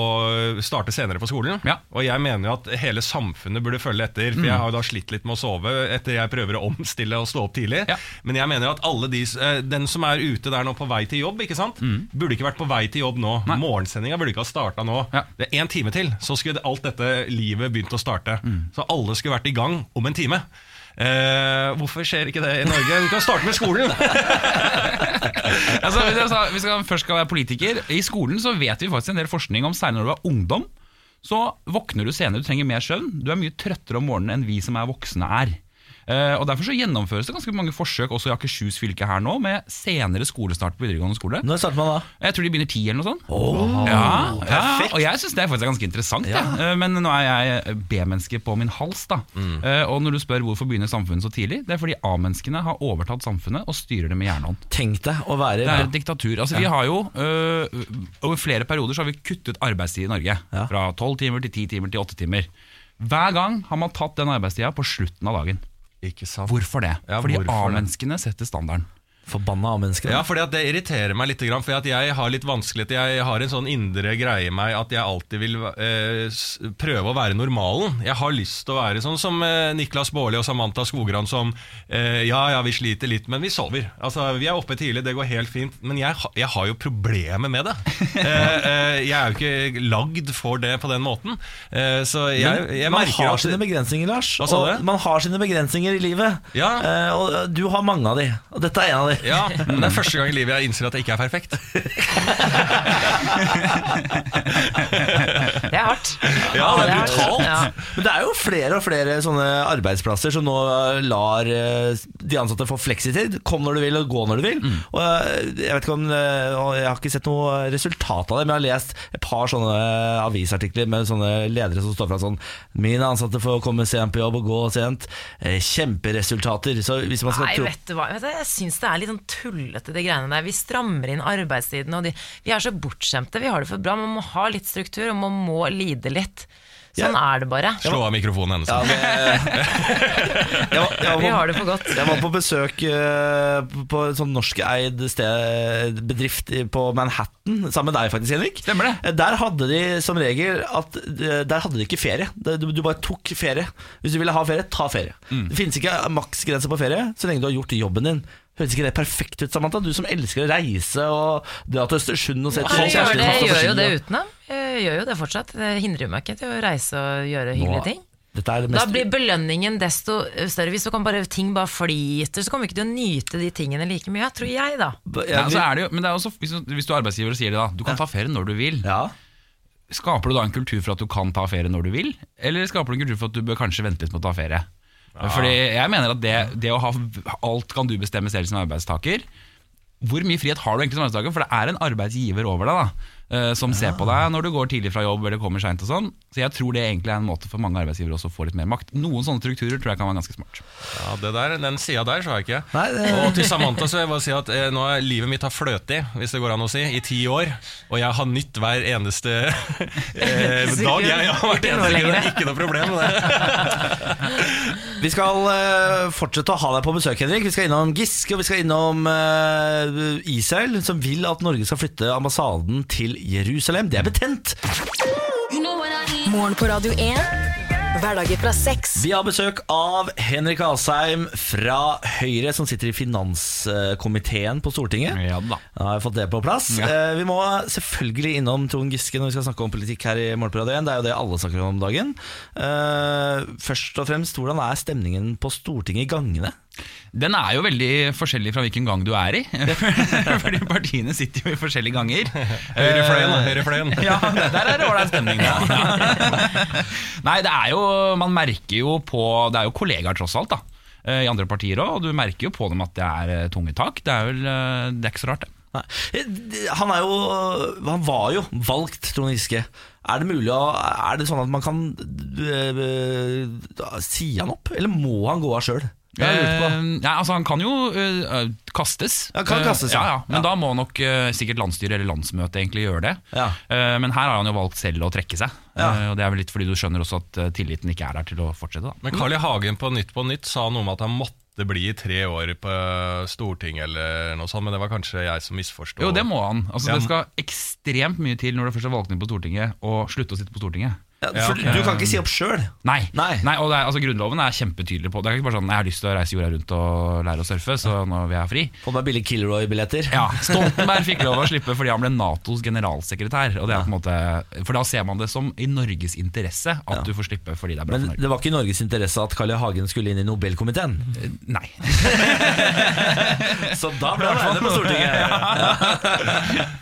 C: starte senere på skolen.
E: Ja. Mm.
C: Og jeg mener jo at hele samfunnet burde følge etter. For jeg har jo da slitt litt med å sove etter jeg prøver å omstille og stå opp tidlig.
E: Ja.
C: Men jeg mener jo at alle de, s- eh, den som er ute der nå på vei til jobb, ikke sant? burde ikke vært på vei til jobb nå.
E: Mm. Nei.
C: Morgensendinga burde ikke ha starta nå.
E: Ja.
C: Det er én time til, så skulle alt dette livet begynt å starte.
E: Mm.
C: Så alle skulle vært i gang om en time. Eh, hvorfor skjer ikke det i Norge? Vi kan starte med skolen!
E: (laughs) Altså, hvis jeg sa- hvis jeg først skal være politiker I skolen så vet vi faktisk en del forskning om særlig når du er ungdom. Så våkner du senere, du trenger mer søvn. Du er mye trøttere om morgenen enn vi som er voksne er. Eh, og Derfor så gjennomføres det ganske mange forsøk også i Akershus fylke her nå, med senere skolestart på videregående skole.
A: Når starter man da?
E: Jeg tror de begynner ti eller noe sånt. ja, ja, og jeg syns det er faktisk ganske interessant. jeg. Eh, Men nå er jeg B-menneske på min hals. da
C: Mm.
E: Eh, Og når du spør hvorfor begynner samfunnet så tidlig, det er fordi A-menneskene har overtatt samfunnet og styrer det med jernhånd.
A: Tenk deg å være
E: Det er et diktatur. Altså, vi har jo, øh, Over flere perioder så har vi kuttet arbeidstid i Norge.
A: Ja.
E: Fra tolv timer til ti timer til åtte timer. Hver gang har man tatt den arbeidstida på slutten av dagen.
C: Ikke sant
E: Hvorfor det?
C: Ja,
E: Fordi
C: hvorfor det?
E: A-menneskene setter standarden.
A: Forbanna av mennesker.
C: Ja, fordi at det irriterer meg litt, for at jeg har litt vanskelighet Jeg har en sånn indre greie i meg at jeg alltid vil eh, s- prøve å være normalen. Jeg har lyst til å være sånn som eh, Niklas Baarli og Samantha Skogran som eh, Ja, ja, vi sliter litt, men vi sover. Altså, Vi er oppe tidlig, det går helt fint. Men jeg, ha- jeg har jo problemer med det.
A: (laughs)
C: Eh, eh, jeg er jo ikke lagd for det på den måten. Eh, så jeg,
A: Men
C: jeg
A: man
C: merker
A: har
C: at
A: sine begrensninger, Lars.
C: Hva sa
A: og
C: du?
A: man har sine begrensninger i livet.
C: Ja.
A: Eh, og du har mange av de. Og dette er en av de.
C: ja,
A: (laughs)
C: men Det er første gang i livet jeg innser at jeg ikke er perfekt.
B: Det er hardt.
C: Ja, det er
B: hardt.
C: brutalt.
B: Ja.
A: Men det er jo flere og flere sånne arbeidsplasser som nå lar eh, de ansatte få fleksitid. Kom når du vil, og gå når du vil.
C: Mm.
A: Og eh, jeg vet ikke om eh, og Jeg har ikke sett noe resultat av det, men jeg har lest et par sånne eh, avisartikler med sånne ledere som står fra sånn Mine ansatte får komme sent på jobb og gå sent. Eh, Kjemperesultater. Så hvis man skal
B: Nei,
A: tro
B: vet du hva. Vet du, jeg syns det er litt sånn tullete, de greiene der. Vi strammer inn arbeidstiden, og de, vi er så bortskjemte. Vi har det for bra. Man må ha litt struktur, og man må lide litt. Sånn er det bare.
C: Slå av mikrofonen hennes.
A: Ja, det-
B: (laughs)
A: jeg, var- jeg,
B: Vi
A: var-
B: har det for godt.
A: Jeg var på besøk eh, på en sånn norskeid sted, bedrift i- på Manhattan, sammen med deg faktisk, Henrik.
E: Stemmer det.
A: Eh, Der hadde de som regel at eh, Der hadde de ikke ferie. Det- Du, du bare tok ferie. Hvis du ville ha ferie, ta ferie.
E: Mm.
A: Det finnes ikke maksgrense på ferie så lenge du har gjort jobben din. Høres ikke det perfekt ut, Samantha? Du som elsker å reise og dra til Østersund og se
B: Jeg gjør,
A: kjæresten
B: det,
A: din stå
B: jeg
A: på
B: gjør jo
A: ski,
B: det
A: og-
B: uten dem. Jeg gjør jo det fortsatt. Det hindrer jo meg ikke til å reise og gjøre hyggelige ting.
A: Dette er det
B: Da
A: mest
B: blir belønningen desto større. Hvis du kan bare, ting bare flyter, så kommer ikke du å nyte de tingene like mye, tror jeg, da.
A: altså,
E: Ja, så altså, er det jo, men det er også, hvis, du- hvis du er arbeidsgiver og sier det, da du kan ta ferie når du vil,
A: ja.
E: skaper du da en kultur for at du kan ta ferie når du vil, eller skaper du en kultur for at du bør kanskje vente litt med å ta ferie? Fordi jeg mener at det, det å ha alt kan du bestemme selv som arbeidstaker, hvor mye frihet har du egentlig som arbeidstaker? For det er en arbeidsgiver over deg da, eh, som ser på deg når du går tidlig fra jobb eller kommer seint og sånn. Så jeg tror det egentlig er en måte for mange arbeidsgivere også å få litt mer makt. Noen sånne strukturer tror jeg kan være ganske smart.
C: Ja, det der, Den sida der så har jeg ikke.
A: Nei, det-
C: Og til Samantha så vil jeg bare si at eh, nå er livet mitt har fløtet i, hvis det går an å si, i ti år. Og jeg har nytt hver eneste (laughs) eh, dag. Jeg, jeg har vært
B: Ikke noe
C: eneste
B: lenger.
C: Det er ikke noe problem med det.
A: Vi skal eh, fortsette å ha deg på besøk, Henrik. Vi skal innom Giske, og vi skal innom eh, Israel, som vil at Norge skal flytte ambassaden til Jerusalem. Det er betent!
D: Morgen på Radio 1. Hverdager fra seks.
A: Vi har besøk av Henrik Asheim fra Høyre, som sitter i finanskomiteen på Stortinget.
E: Ja da.
A: Da har jeg fått det på plass.
E: Ja.
A: Eh, vi må selvfølgelig innom Trond Giske når vi skal snakke om politikk her i Morgenpå Radio 1. Det er jo det alle snakker om om dagen. Eh, først og fremst, hvordan er stemningen på Stortinget i gangene?
E: Den er jo veldig forskjellig fra hvilken gang du er i. (laughs) Fordi partiene sitter jo i forskjellige ganger. Eh,
C: Høyrefløyen, da, høyrefløyen.
E: Ja, det- der er det ålreit stemning, da. Nei, det er jo Man merker jo på Det er jo kollegaer, tross alt, da. eh, I andre partier òg. Og du merker jo på dem at det er eh, tunge tak. Det er vel eh, Det er ikke så rart, det.
A: Nei. Eh, Han er jo Han var jo valgt, Trond Giske. Er det mulig å Er det sånn at man kan øh, øh, si han opp, eller må han gå av sjøl? Det har jeg lurt på.
E: Eh, ja, altså Han kan jo eh, eh, kastes.
A: Ja, kan
E: Eh,
A: kastes, ja.
E: ja, ja. Men
A: Ja.
E: da må nok eh, sikkert landsstyret eller landsmøtet egentlig gjøre det.
A: Ja.
E: Eh, men her har han jo valgt selv å trekke seg.
A: Ja.
E: Eh, og Det er vel litt fordi du skjønner også at eh, tilliten ikke er der til å fortsette. da
C: Men Carl I. Hagen på Nytt på Nytt sa noe om at han måtte bli i tre år på Stortinget eller noe sånt, men det var kanskje jeg som misforsto.
E: Jo, det må han. Altså,
C: Ja,
E: Det
C: men-
E: skal ekstremt mye til når du først er valgt inn på Stortinget, å slutte å sitte på Stortinget.
A: Ja, for
C: Ja, ok.
A: Du kan ikke si opp sjøl.
E: Nei.
A: Nei.
E: og det er, altså, Grunnloven er kjempetydelig på det. Det er ikke bare sånn 'jeg har lyst til å reise jorda rundt og lære å surfe', så nå vil jeg ha fri.
A: Få meg billige Kilroy-billetter.
E: Ja, (laughs) Stoltenberg fikk lov å slippe fordi han ble Natos generalsekretær. Og det er på en måte, for da ser man det som i Norges interesse at du får slippe fordi det er bra
A: Men
E: for Norge.
A: det var ikke i Norges interesse at Carl I. Hagen skulle inn i Nobelkomiteen.
E: Nei.
A: Så da ble han værende på Stortinget.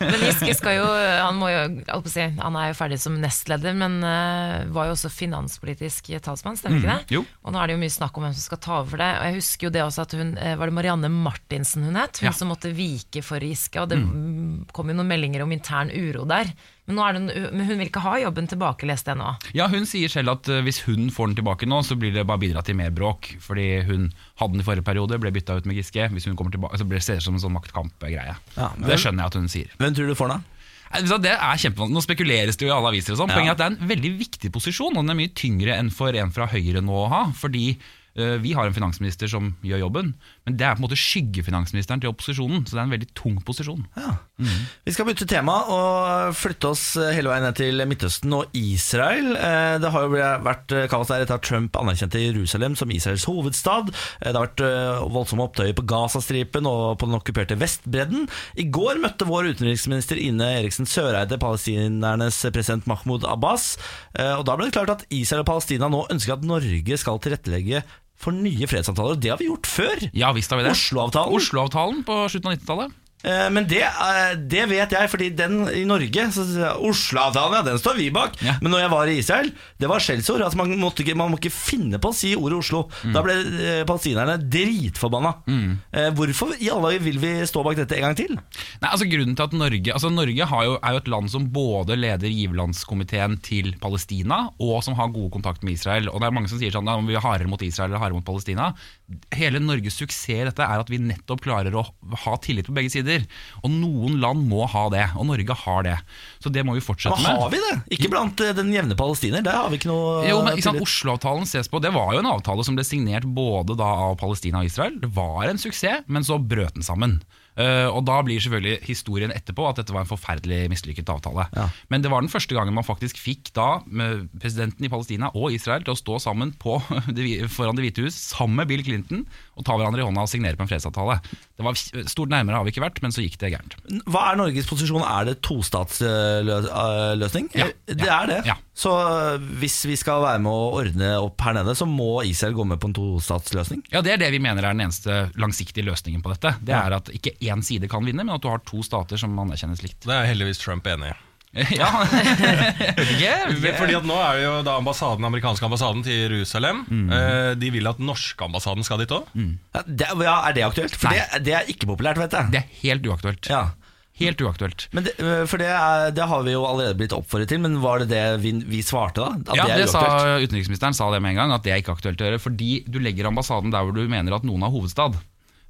B: Men Giske skal jo, han, må jo jeg holdt på å si, han er jo ferdig som nestleder, men eh, eh, var jo også finanspolitisk talsmann, stemmer ikke det?
E: jo.
B: Og nå er det jo mye snakk om hvem som skal ta over for det. Og jeg husker jo det også at hun, eh, Var det Marianne Martinsen hun het? Hun
E: Ja.
B: som måtte vike for Giske. Og det mm, kom jo noen meldinger om intern uro der. Men, nå er det, en- men hun vil ikke ha jobben tilbake, leste jeg nå.
E: Ja, hun sier selv at eh, hvis hun får den tilbake nå, så blir det bare bidratt til mer bråk. Fordi hun hadde den i forrige periode, ble bytta ut med Giske. Hvis hun kommer tilbake, så blir det ser det ut som en sånn maktkamp-greie.
A: Ja, men-
E: det skjønner jeg at hun sier.
A: Hvem tror du får den, da?
E: Nei, vet du hva, Det er kjempevanskelig. Nå spekuleres det jo i alle aviser. og sånn Poenget er at det er en veldig viktig posisjon, og den er mye tyngre enn for en fra Høyre nå å ha. Fordi eh, vi har en finansminister som gjør jobben, men det er på en måte skyggefinansministeren til opposisjonen. Så det er en veldig tung posisjon.
A: Vi skal bytte tema og flytte oss eh, hele veien ned til Midtøsten og Israel. Eh, Det har jo ble- vært eh, kaos der etter at Trump anerkjente Jerusalem som Israels hovedstad. Eh, Det har vært eh, voldsomme opptøyer på Gazastripen og på den okkuperte Vestbredden. I går møtte vår utenriksminister Ine Eriksen Søreide palestinernes president Mahmoud Abbas. Eh, Og da ble det klart at Israel og Palestina nå ønsker at Norge skal tilrettelegge for nye fredsavtaler. Det har vi gjort før.
E: Ja, visst har vi det.
A: Oslo-avtalen.
E: Oslo-avtalen på slutten av 90-tallet.
A: Eh, Men det, eh, det vet jeg, fordi den i Norge så, sier jeg, Oslo-avtalen, ja, den står vi bak.
E: Ja.
A: Men når jeg var i Israel, det var skjellsord. Altså, man, måtte ikke, man må ikke finne på å si ordet Oslo. Da
E: Mm.
A: ble eh, palestinerne dritforbanna. Eh, hvorfor i alle dager vil vi stå bak dette en gang til?
E: Nei, altså grunnen til at Norge altså Norge har jo, er jo et land som både leder giverlandskomiteen til Palestina, og som har god kontakt med Israel. Og det er mange som sier sånn at vi er hardere mot Israel eller hardere mot Palestina. Hele Norges suksess i dette er at vi nettopp klarer å ha tillit på begge sider. Og noen land må ha det, og Norge har det. Så det må vi fortsette
A: Da
E: med.
A: har vi det! Ikke blant eh, den jevne palestiner. Der har vi ikke noe
E: Mm.
A: eh,
E: Jo, men ikke sant,
A: tillit.
E: Oslo-avtalen ses på Det var jo en avtale som ble signert både da av Palestina og Israel. Det var en suksess, men så brøt den sammen. Eh, og Da blir selvfølgelig historien etterpå at dette var en forferdelig mislykket avtale.
A: Ja.
E: Men det var den første gangen man faktisk fikk da med presidenten i Palestina og Israel til å stå sammen på, (laughs) det hvi- foran Det hvite hus sammen med Bill Clinton og ta hverandre i hånda og signere på en fredsavtale. Det var Stort nærmere har vi ikke vært, men så gikk det gærent.
A: Hva er Norges posisjon? Er det tostatsløsning?
E: Ja.
A: Det
E: Ja.
A: er det.
E: Ja.
A: Så eh, hvis vi skal være med å ordne opp her nede, så må Israel gå med på en tostatsløsning?
E: Ja, Det er det vi mener er den eneste langsiktige løsningen på dette. Det er At ikke én side kan vinne, men at du har to stater som anerkjennes likt.
C: Det er heldigvis Trump enig i.
E: (laughs)
A: (laughs)
E: Ja,
C: Fordi at nå er det jo da ambassaden, den amerikanske ambassaden til Jerusalem. Eh, de vil at norske ambassaden skal dit òg.
A: Ja, det, ja, er det aktuelt? For
E: Nei.
A: det, det er ikke populært, vet jeg.
E: Det er helt uaktuelt.
A: Ja.
E: Helt uaktuelt.
A: Men det, øh, for det, er, det har vi jo allerede blitt oppfordret til, men var det det vi, vi svarte da? At
E: Ja,
A: det er
E: det sa
A: uaktuelt?
E: Utenriksministeren sa det med en gang, at det er ikke aktuelt å gjøre. Fordi du legger ambassaden der hvor du mener at noen har hovedstad.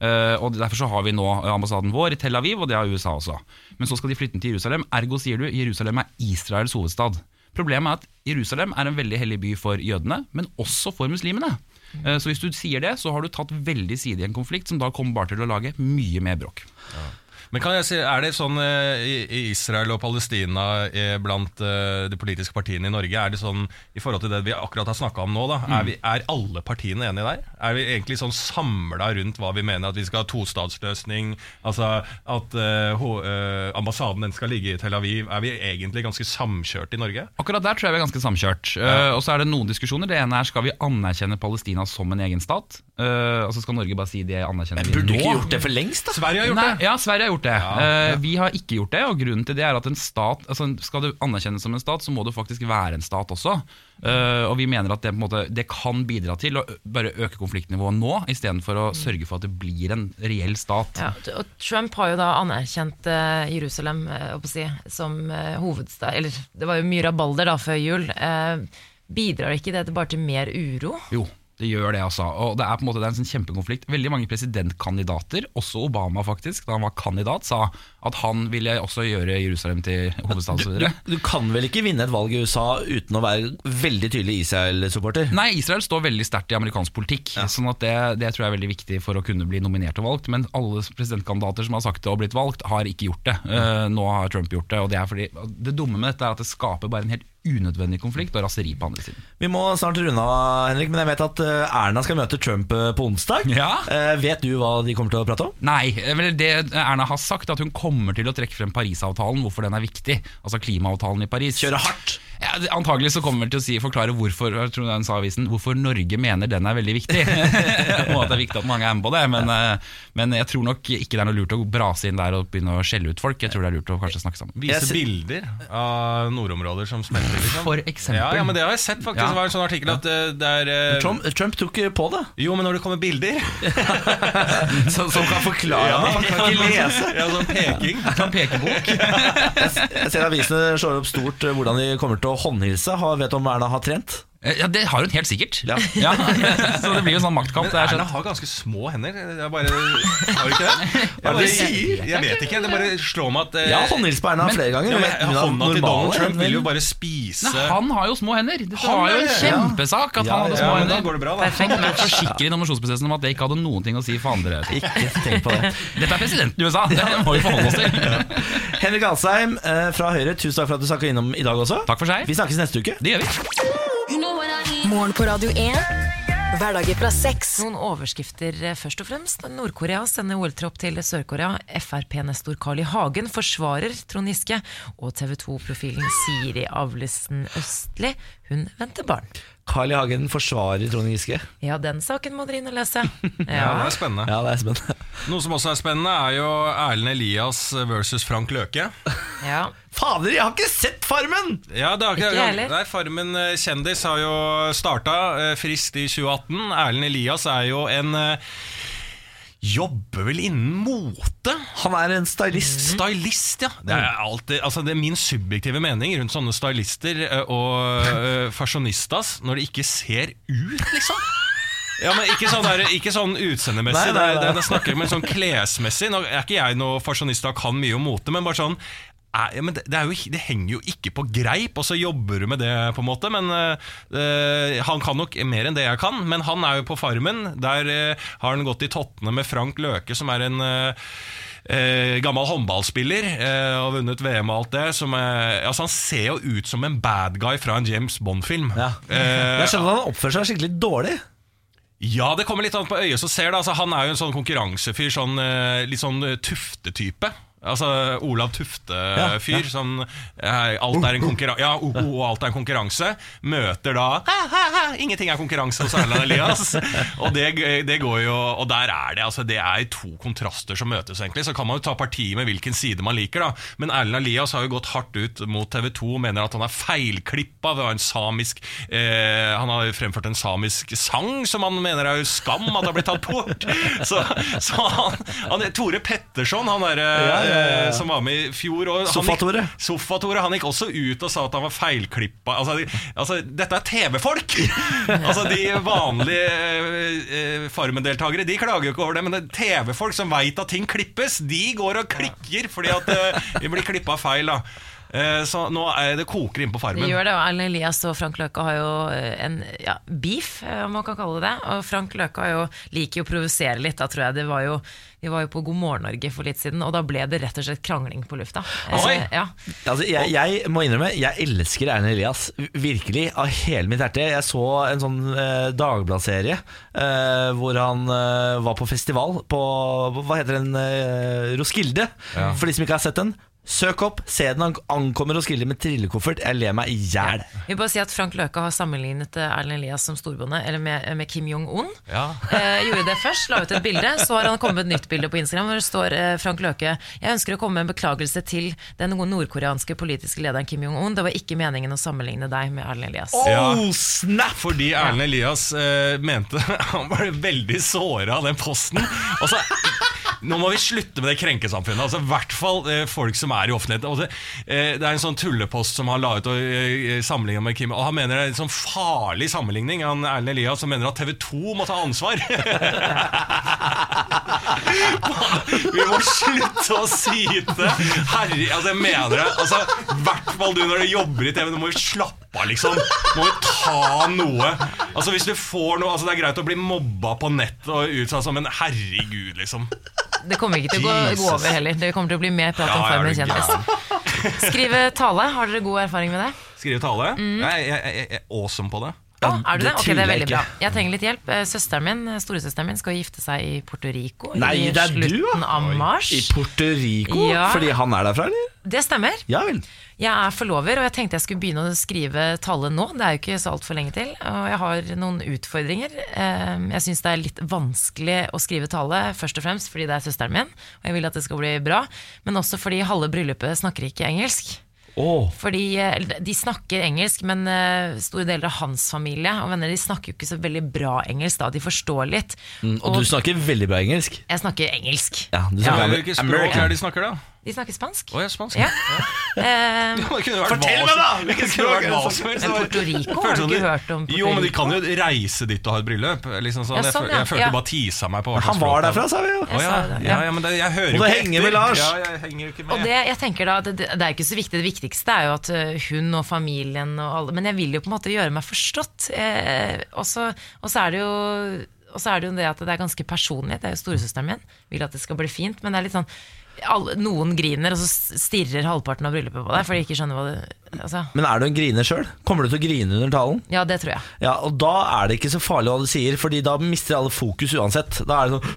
E: Eh, og Derfor så har vi nå eh, ambassaden vår i Tel Aviv, og det har USA også. Men så skal de flytte den til Jerusalem. Ergo sier du Jerusalem er Israels hovedstad. Problemet er at Jerusalem er en veldig hellig by for jødene, men også for muslimene. Eh, så hvis du sier det, så har du tatt veldig side i en konflikt som da kommer bare til å lage mye mer bråk.
C: Men kan jeg si, er det sånn eh, i i Israel og Palestina eh, blant eh, de politiske partiene i Norge Er det sånn, i forhold til det vi akkurat har snakka om nå, da,
E: Mm.
C: er, vi, er alle partiene enige der? Er vi egentlig sånn samla rundt hva vi mener at vi skal ha tostatsløsning? Altså at eh, ho, eh, ambassaden den skal ligge i Tel Aviv? Er vi egentlig ganske samkjørte i Norge?
E: Akkurat der tror jeg vi er ganske samkjørt. Eh, og så er det noen diskusjoner. Det ene er skal vi anerkjenne Palestina som en egen stat. Eh, og så skal Norge bare si det anerkjenner vi nå.
A: Burde du ikke gjort det for lengst, da?
C: Sverige har gjort
E: Nei,
C: det!
E: ja, Sverige har gjort det. Eh, vi har ikke gjort det. Og grunnen til det er at en stat altså, skal du anerkjennes som en stat, så må du faktisk være en stat også. Eh, og vi mener at det, på en måte, det kan bidra til å ø- bare øke konfliktnivået nå, istedenfor å sørge for at det blir en reell stat.
B: Ja, og Trump har jo da anerkjent eh, Jerusalem eh, holdt på å si, som eh, hovedstad Eller det var jo mye rabalder da før jul. Eh, bidrar ikke dette bare til mer uro?
E: Jo, det gjør det, altså. Og det er på en måte det er en sånn kjempekonflikt. Veldig mange presidentkandidater, også Obama faktisk, da han var kandidat, sa at han ville også gjøre Jerusalem til hovedstad
A: Du,
E: osv.
A: du, du kan vel ikke vinne et valg i USA uten å være veldig tydelig Israel-supporter?
E: Nei, Israel står veldig sterkt i amerikansk politikk. Sånn at det, det tror jeg er veldig viktig for å kunne bli nominert og valgt. Men alle presidentkandidater som har sagt det og blitt valgt, har ikke gjort det. Eh, nå har Trump gjort det. og Det er fordi det dumme med dette er at det skaper bare en helt unødvendig konflikt og raseri på andre siden.
A: Vi må snart runde av, Henrik, men jeg vet at øh, Erna skal møte Trump øh, på onsdag.
E: Ja.
A: Eh, vet du hva de kommer til å prate om?
E: Nei, eh, vel det Erna har sagt, at hun kommer til å trekke frem Parisavtalen, hvorfor den er viktig. Altså klimaavtalen i Paris.
A: Kjøre hardt?
E: Ja, det- antagelig så kommer han til å si, forklare hvorfor jeg tror han sa i avisen, hvorfor Norge mener den er veldig viktig. (laughs) og at det er viktig at mange er med på det. Men, eh, men jeg tror nok ikke det er noe lurt å brase inn der og begynne å skjelle ut folk. Jeg tror det er lurt å kanskje snakke sammen.
A: Jeg
C: Vise
A: ser-
C: bilder av nordområder som smelter. Liksom.
E: For eksempel.
C: Ja, ja, men Det har jeg sett, faktisk.
E: Ja.
C: Det var en sånn artikkel at eh, det er eh,
A: Trump, Trump tok ikke på det.
E: (laughs)
C: Jo, men når det kommer bilder (laughs)
A: Som, kan forklare
C: Ja,
A: Han kan ikke lese.
C: ja, sånn peking.
E: Kan peke (laughs) på
A: Jeg ser avisene slår opp stort eh, hvordan de kommer til å håndhilse. Har- Vet du om Erna har trent?
E: Eh, Ja, det har hun helt sikkert.
A: Ja.
E: (laughs) Ja, Så det blir jo en sånn maktkamp.
C: Men
E: Det er
C: Erna
E: skjønt.
C: har ganske små hender. Det er bare, har du ikke det? Jeg,
A: er det
C: bare,
A: du sier?
C: jeg, vet ikke. Det bare slår meg at eh,
A: Jeg har håndhilst på Erna
E: men-
A: flere ganger.
C: ja, men,
A: sånn Hun har
C: Hånda til
A: normale
C: Donald Trump vil jo
A: hender.
C: bare spise
E: Nei, han har jo små hender. Det
C: Han
E: var jo en
C: er-
E: kjempesak at
A: Ja,
E: han hadde
C: ja,
E: små
C: men Da
E: hender.
C: går det bra, da.
B: Perfekt match.
E: Forsikre i nominasjonsprosessen om at det ikke hadde noen ting å si for andre. ting.
A: Ikke tenk på
C: (laughs)
A: det.
E: Dette er presidenten i USA, det må vi forholde oss til.
A: Henrik Asheim eh, fra Høyre, tusen takk for at du snakka innom i dag også.
E: Takk for seg.
A: Vi snakkes neste uke.
E: Det gjør vi.
D: Morgen på Radio 1. Hverdager fra seks.
B: Noen overskrifter eh, først og fremst. Nord-Korea sender OL-tropp til Sør-Korea. Frp-nestor Carl I. Hagen forsvarer Trond Giske. Og TV 2-profilen Siri Avlesen Østli, hun venter barn.
A: Carl I. Hagen forsvarer Trond Giske.
B: Ja, den saken må dere inn og lese.
C: Ja,
B: Ja.
C: det er spennende.
A: Ja, det er spennende.
C: Noe som også er spennende, er jo Erlend Elias versus Frank Løke.
B: ja.
A: (laughs) Fader, jeg har ikke sett Farmen!
C: Ja, det har ikke,
B: Ikke jeg heller.
C: Nei, Farmen eh, kjendis har jo starta eh, frist i 2018. Erlend Elias er jo en eh, Jobber vel innen mote?
A: Han er en stylist. Mm.
C: Stylist, ja. Det er, alltid, altså det er min subjektive mening rundt sånne stylister eh, og eh, fasjonistas når de ikke ser ut, liksom. Ja, men Ikke sånn, der, ikke sånn utseendemessig,
A: Nei, nei,
C: det er-
A: nei.
C: det er- jeg snakker jeg om en sånn klesmessig. Nå er ikke jeg noe fasjonist og kan mye om mote, men bare sånn eh, ja, men det, det, er jo, det henger jo ikke på greip, og så jobber du med det, på en måte. Men eh, eh, Han kan nok mer enn det jeg kan, men han er jo på Farmen. Der eh, har han gått i tottene med Frank Løke, som er en eh, eh, gammel håndballspiller eh, og vunnet VM og alt det. Som, eh, altså han ser jo ut som en bad guy fra en James Bond-film.
A: Ja.
C: Eh,
A: Jeg skjønner at han oppfører seg skikkelig dårlig.
C: ja, det kommer litt an på øyet som ser det. Altså, han er jo en sånn konkurransefyr, sånn, eh, litt sånn eh, Tufte-type. Altså Olav Tufte-fyr. Sånn, eh, alt er en konkurranse Ja, oh, oh, alt er en konkurranse. Møter da ha, ha, ha, Ingenting er konkurranse hos
A: (laughs)
C: Erlend Elias. og det, det går jo Og der er det. Altså, det er to kontraster som møtes, egentlig. Så kan man jo ta parti med hvilken side man liker, da. Men Erlend Elias har jo gått hardt ut mot TV 2 og mener at han er feilklippa ved å ha en samisk eh, Han har fremført en samisk sang som han mener er jo skam at har blitt tatt bort. (laughs) Så, så han, han Tore Petterson, han derre som var med i fjor og han gikk-
A: Sofa-Tore.
C: Sofa-Tore han gikk også ut og sa at han var feilklippa. Altså, de- altså dette er TV-folk! (laughs) altså De vanlige eh, eh, Farmen-deltakere De klager jo ikke over det, men det er TV-folk som veit at ting klippes, de går og klikker fordi at eh, de blir klippa feil. da Eh, så nå er det koker inn på
B: Det
C: Farmen.
B: gjør det, og Erlend Elias og Frank Løke har jo eh, en ja, beef, eh, om man kan kalle det det. Og Frank Løke har jo, liker jo å provosere litt, da tror jeg. Det var jo, de var jo på God morgen Norge for litt siden, og da ble det rett og slett krangling på lufta. Eh,
C: Oi!
B: Ja.
A: Altså, jeg, jeg må innrømme, jeg elsker Erlend Elias. Virkelig, av hele mitt hjerte. Jeg så en sånn eh, Dagbladet-serie eh, hvor han eh, var på festival på Hva heter den? Eh, Roskilde. For de som ikke har sett den. Søk opp, se den. Han ankommer Roskilde med trillekoffert. Jeg ler meg i hjel.
B: Vi vil bare si at Frank Løke har sammenlignet eh, Erlend Elias som storbonde, eller med, eh, med Kim Jong-un.
C: Ja.
B: (laughs) Eh, gjorde det først, la ut et bilde, så har han kommet med et nytt bilde på Instagram hvor det står eh, Frank Løke Jeg ønsker å komme med en beklagelse til den nordkoreanske politiske lederen Kim Jong-un. Det var ikke meningen å sammenligne deg med Erlend Elias.
C: Ja.
A: Oh, snap!
C: Fordi Erlend Elias eh, mente (laughs) Han var veldig såra av den posten. Altså, nå må vi slutte med det krenkesamfunnet. Altså, I hvert fall eh, folk som er i offentligheten. Og det, eh, det er en sånn tullepost som han la ut og eh, sammenligna med Kim. Og han mener det er en sånn farlig sammenligning. Han Erlend Elias som mener at TV 2 må ta ansvar. vi må slutte å syte! Herre, altså, jeg mener det. Altså, I hvert fall du når du jobber i TV. Du må jo slappe av, liksom. Du må jo ta noe. Altså, hvis du får noe altså, Det er greit å bli mobba på nett og utsatt som, men herregud, liksom.
B: Det kommer ikke til å gå, gå
C: Jesus.
B: over heller. Det kommer til å bli mer prat om
C: Ja,
B: Farmen
C: er du
B: kjendis. Skrive tale, har dere god erfaring med det? Mm.
C: Skrive tale? Nei, jeg, jeg, jeg er awesome på det.
B: Å,
E: Ja,
B: Ah, er du det?
A: det
B: Ok, det er
A: tviler jeg
B: veldig
A: ikke.
B: bra. Jeg trenger litt hjelp. Eh, Søsteren min, storesøsteren min skal jo gifte seg i Puerto Rico
A: Nei,
B: i
A: det er du, ja.
B: slutten av mars.
A: I Puerto Rico?
B: Ja.
A: Fordi han er derfra, eller?
B: Det stemmer.
A: Ja vel.
B: Jeg er forlover, og jeg tenkte jeg skulle begynne å skrive tallet nå. Det er jo ikke så altfor lenge til. Og jeg har noen utfordringer. Eh, Jeg syns det er litt vanskelig å skrive tallet, først og fremst fordi det er søsteren min, og jeg vil at det skal bli bra. Men også fordi halve bryllupet snakker ikke engelsk.
A: Åh,
B: Fordi eh, De snakker engelsk, men eh, store deler av hans familie og venner de snakker jo ikke så veldig bra engelsk. da, De forstår litt.
A: Mm, og du snakker veldig bra engelsk.
B: Jeg snakker engelsk.
A: Ja, du
C: Men
A: snakker
C: Hvilket språk
A: American.
C: er det de snakker, da?
B: De snakker spansk.
C: Å, ja, spansk.
B: Ja. Eh,
C: Det kunne vært
A: Fortell
C: hva
A: meg
C: som-
A: da, hvilket
C: det kunne
A: språk
C: vært
A: er det
C: hva
A: som-
C: som helst.
B: Men Puerto Rico,
C: Føles
B: har du ikke
C: som de-
B: hørt om Puerto
C: Jo, men de
B: Rico?
C: kan jo reise dit og ha et bryllup. Liksom sånn.
B: Ja,
C: jeg,
B: sånn,
C: føl-
B: ja.
C: jeg følte
B: Ja.
C: bare tisa meg på hva
A: Han
C: slags
A: var
C: språk det
A: derfra, sa vi jo.
B: Jeg
C: Å,
B: sa
C: ja.
B: det, ja.
C: Ja, ja, men det, jeg hører
A: Og
C: jo
A: det
C: ikke
A: henger
C: etter.
A: med Lars.
C: Ja, jeg henger jo ikke med.
B: Og det, jeg tenker da, det, det er jo ikke så viktig. Det viktigste er jo at ø, hun og familien og alle Men jeg vil jo på en måte gjøre meg forstått. Eh, og så og så er det jo og så er det jo det at det er ganske personlig. Det er jo storesøsteren min. Vil at det skal bli fint. Men det er litt sånn alle, Noen griner, og så stirrer halvparten av bryllupet på deg. For de ikke skjønner hva det altså,
A: Men er du en griner sjøl? Kommer du til å grine under talen?
B: Ja, det tror jeg.
A: Ja, og da er det ikke så farlig hva du sier, Fordi da mister alle fokus uansett. Da er det sånn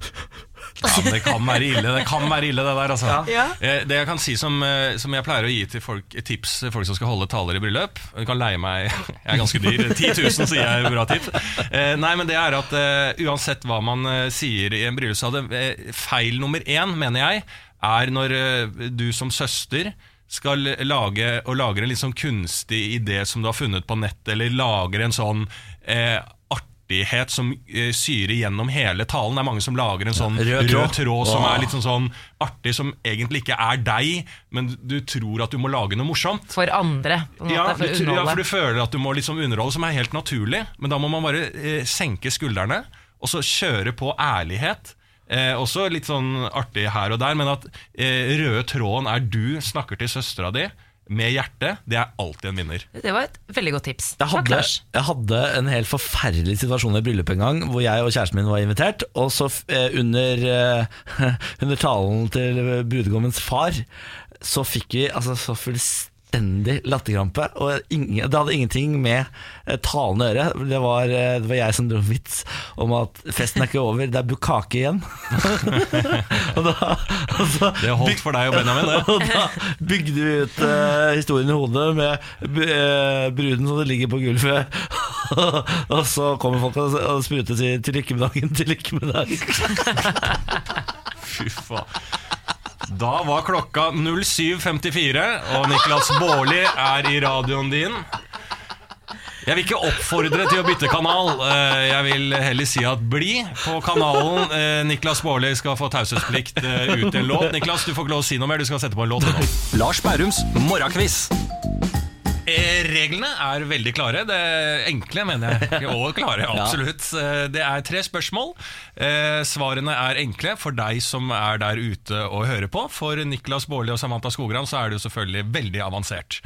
C: Ja, men det kan være ille, det kan være ille det der, altså. Eh, Det jeg kan si som, eh, som jeg pleier å gi til folk, tips til folk som skal holde taler i bryllup Du kan leie meg, (laughs) jeg er ganske dyr, 10 000 sier jeg er bra tips. Eh, Nei, men det er at eh, uansett hva man eh, sier i en bryllupsdag, det, eh, feil nummer én, mener jeg, er når eh, du som søster skal lage og lager en litt sånn kunstig idé som du har funnet på nett, eller lager en sånn eh, artighet som eh, syrer gjennom hele talen. Det er mange som lager en sånn
A: Rød
C: rød
A: tråd.
C: tråd, som
A: Åh.
C: er litt sånn, sånn artig, som egentlig ikke er deg, men du tror at du må lage noe morsomt.
B: For andre. På en måte,
C: Ja,
B: for
C: du,
B: å
C: tror- ja, for
B: underholde.
C: du føler at du må liksom underholde, som er helt naturlig. Men da må man bare eh, senke skuldrene, og så kjøre på ærlighet. Eh, også litt sånn artig her og der, men at eh, røde tråden er du snakker til søstera di med hjertet, det er alltid en vinner.
B: Det var et veldig godt tips.
A: Jeg
B: Takk,
A: hadde,
B: Lars.
A: jeg hadde en helt forferdelig situasjon i et bryllup en gang, hvor jeg og kjæresten min var invitert. Og så f- eh, under, eh, (laughs) under talen til brudgommens far, så fikk vi altså, så fullstendig latterkrampe. Og ingen, det hadde ingenting med eh, talen å gjøre. Det var, eh, det var jeg som dro en vits om at festen er ikke over, det er bukake igjen. (laughs) og da, og så,
C: Det holdt for deg og Benjamin, det.
A: (laughs) og da bygde vi ut eh, historien i hodet med b- eh, bruden som ligger på gulvet. (laughs) og så kommer folk og, og spruter og sier 'til lykke med dagen', 'til lykke med dagen'.
C: Fy faen. Da var klokka 07.54, og Niklas Baarli er i radioen din. Jeg vil ikke oppfordre til å bytte kanal. Eh, Jeg vil heller si at bli på kanalen. Eh, Niklas Baarli skal få taushetsplikt eh, ut til en låt. Niklas, du får ikke lov å si noe mer. Du skal sette på en låt. nå.
F: Lars Bærums morgenkviss.
C: Eh, Reglene er veldig klare. Det er enkle, mener jeg. Og klare, absolutt. Eh, Det er tre spørsmål. Eh, Svarene er enkle for deg som er der ute og hører på. For Niklas Baarli og Samantha Skogran så er det jo selvfølgelig veldig avansert.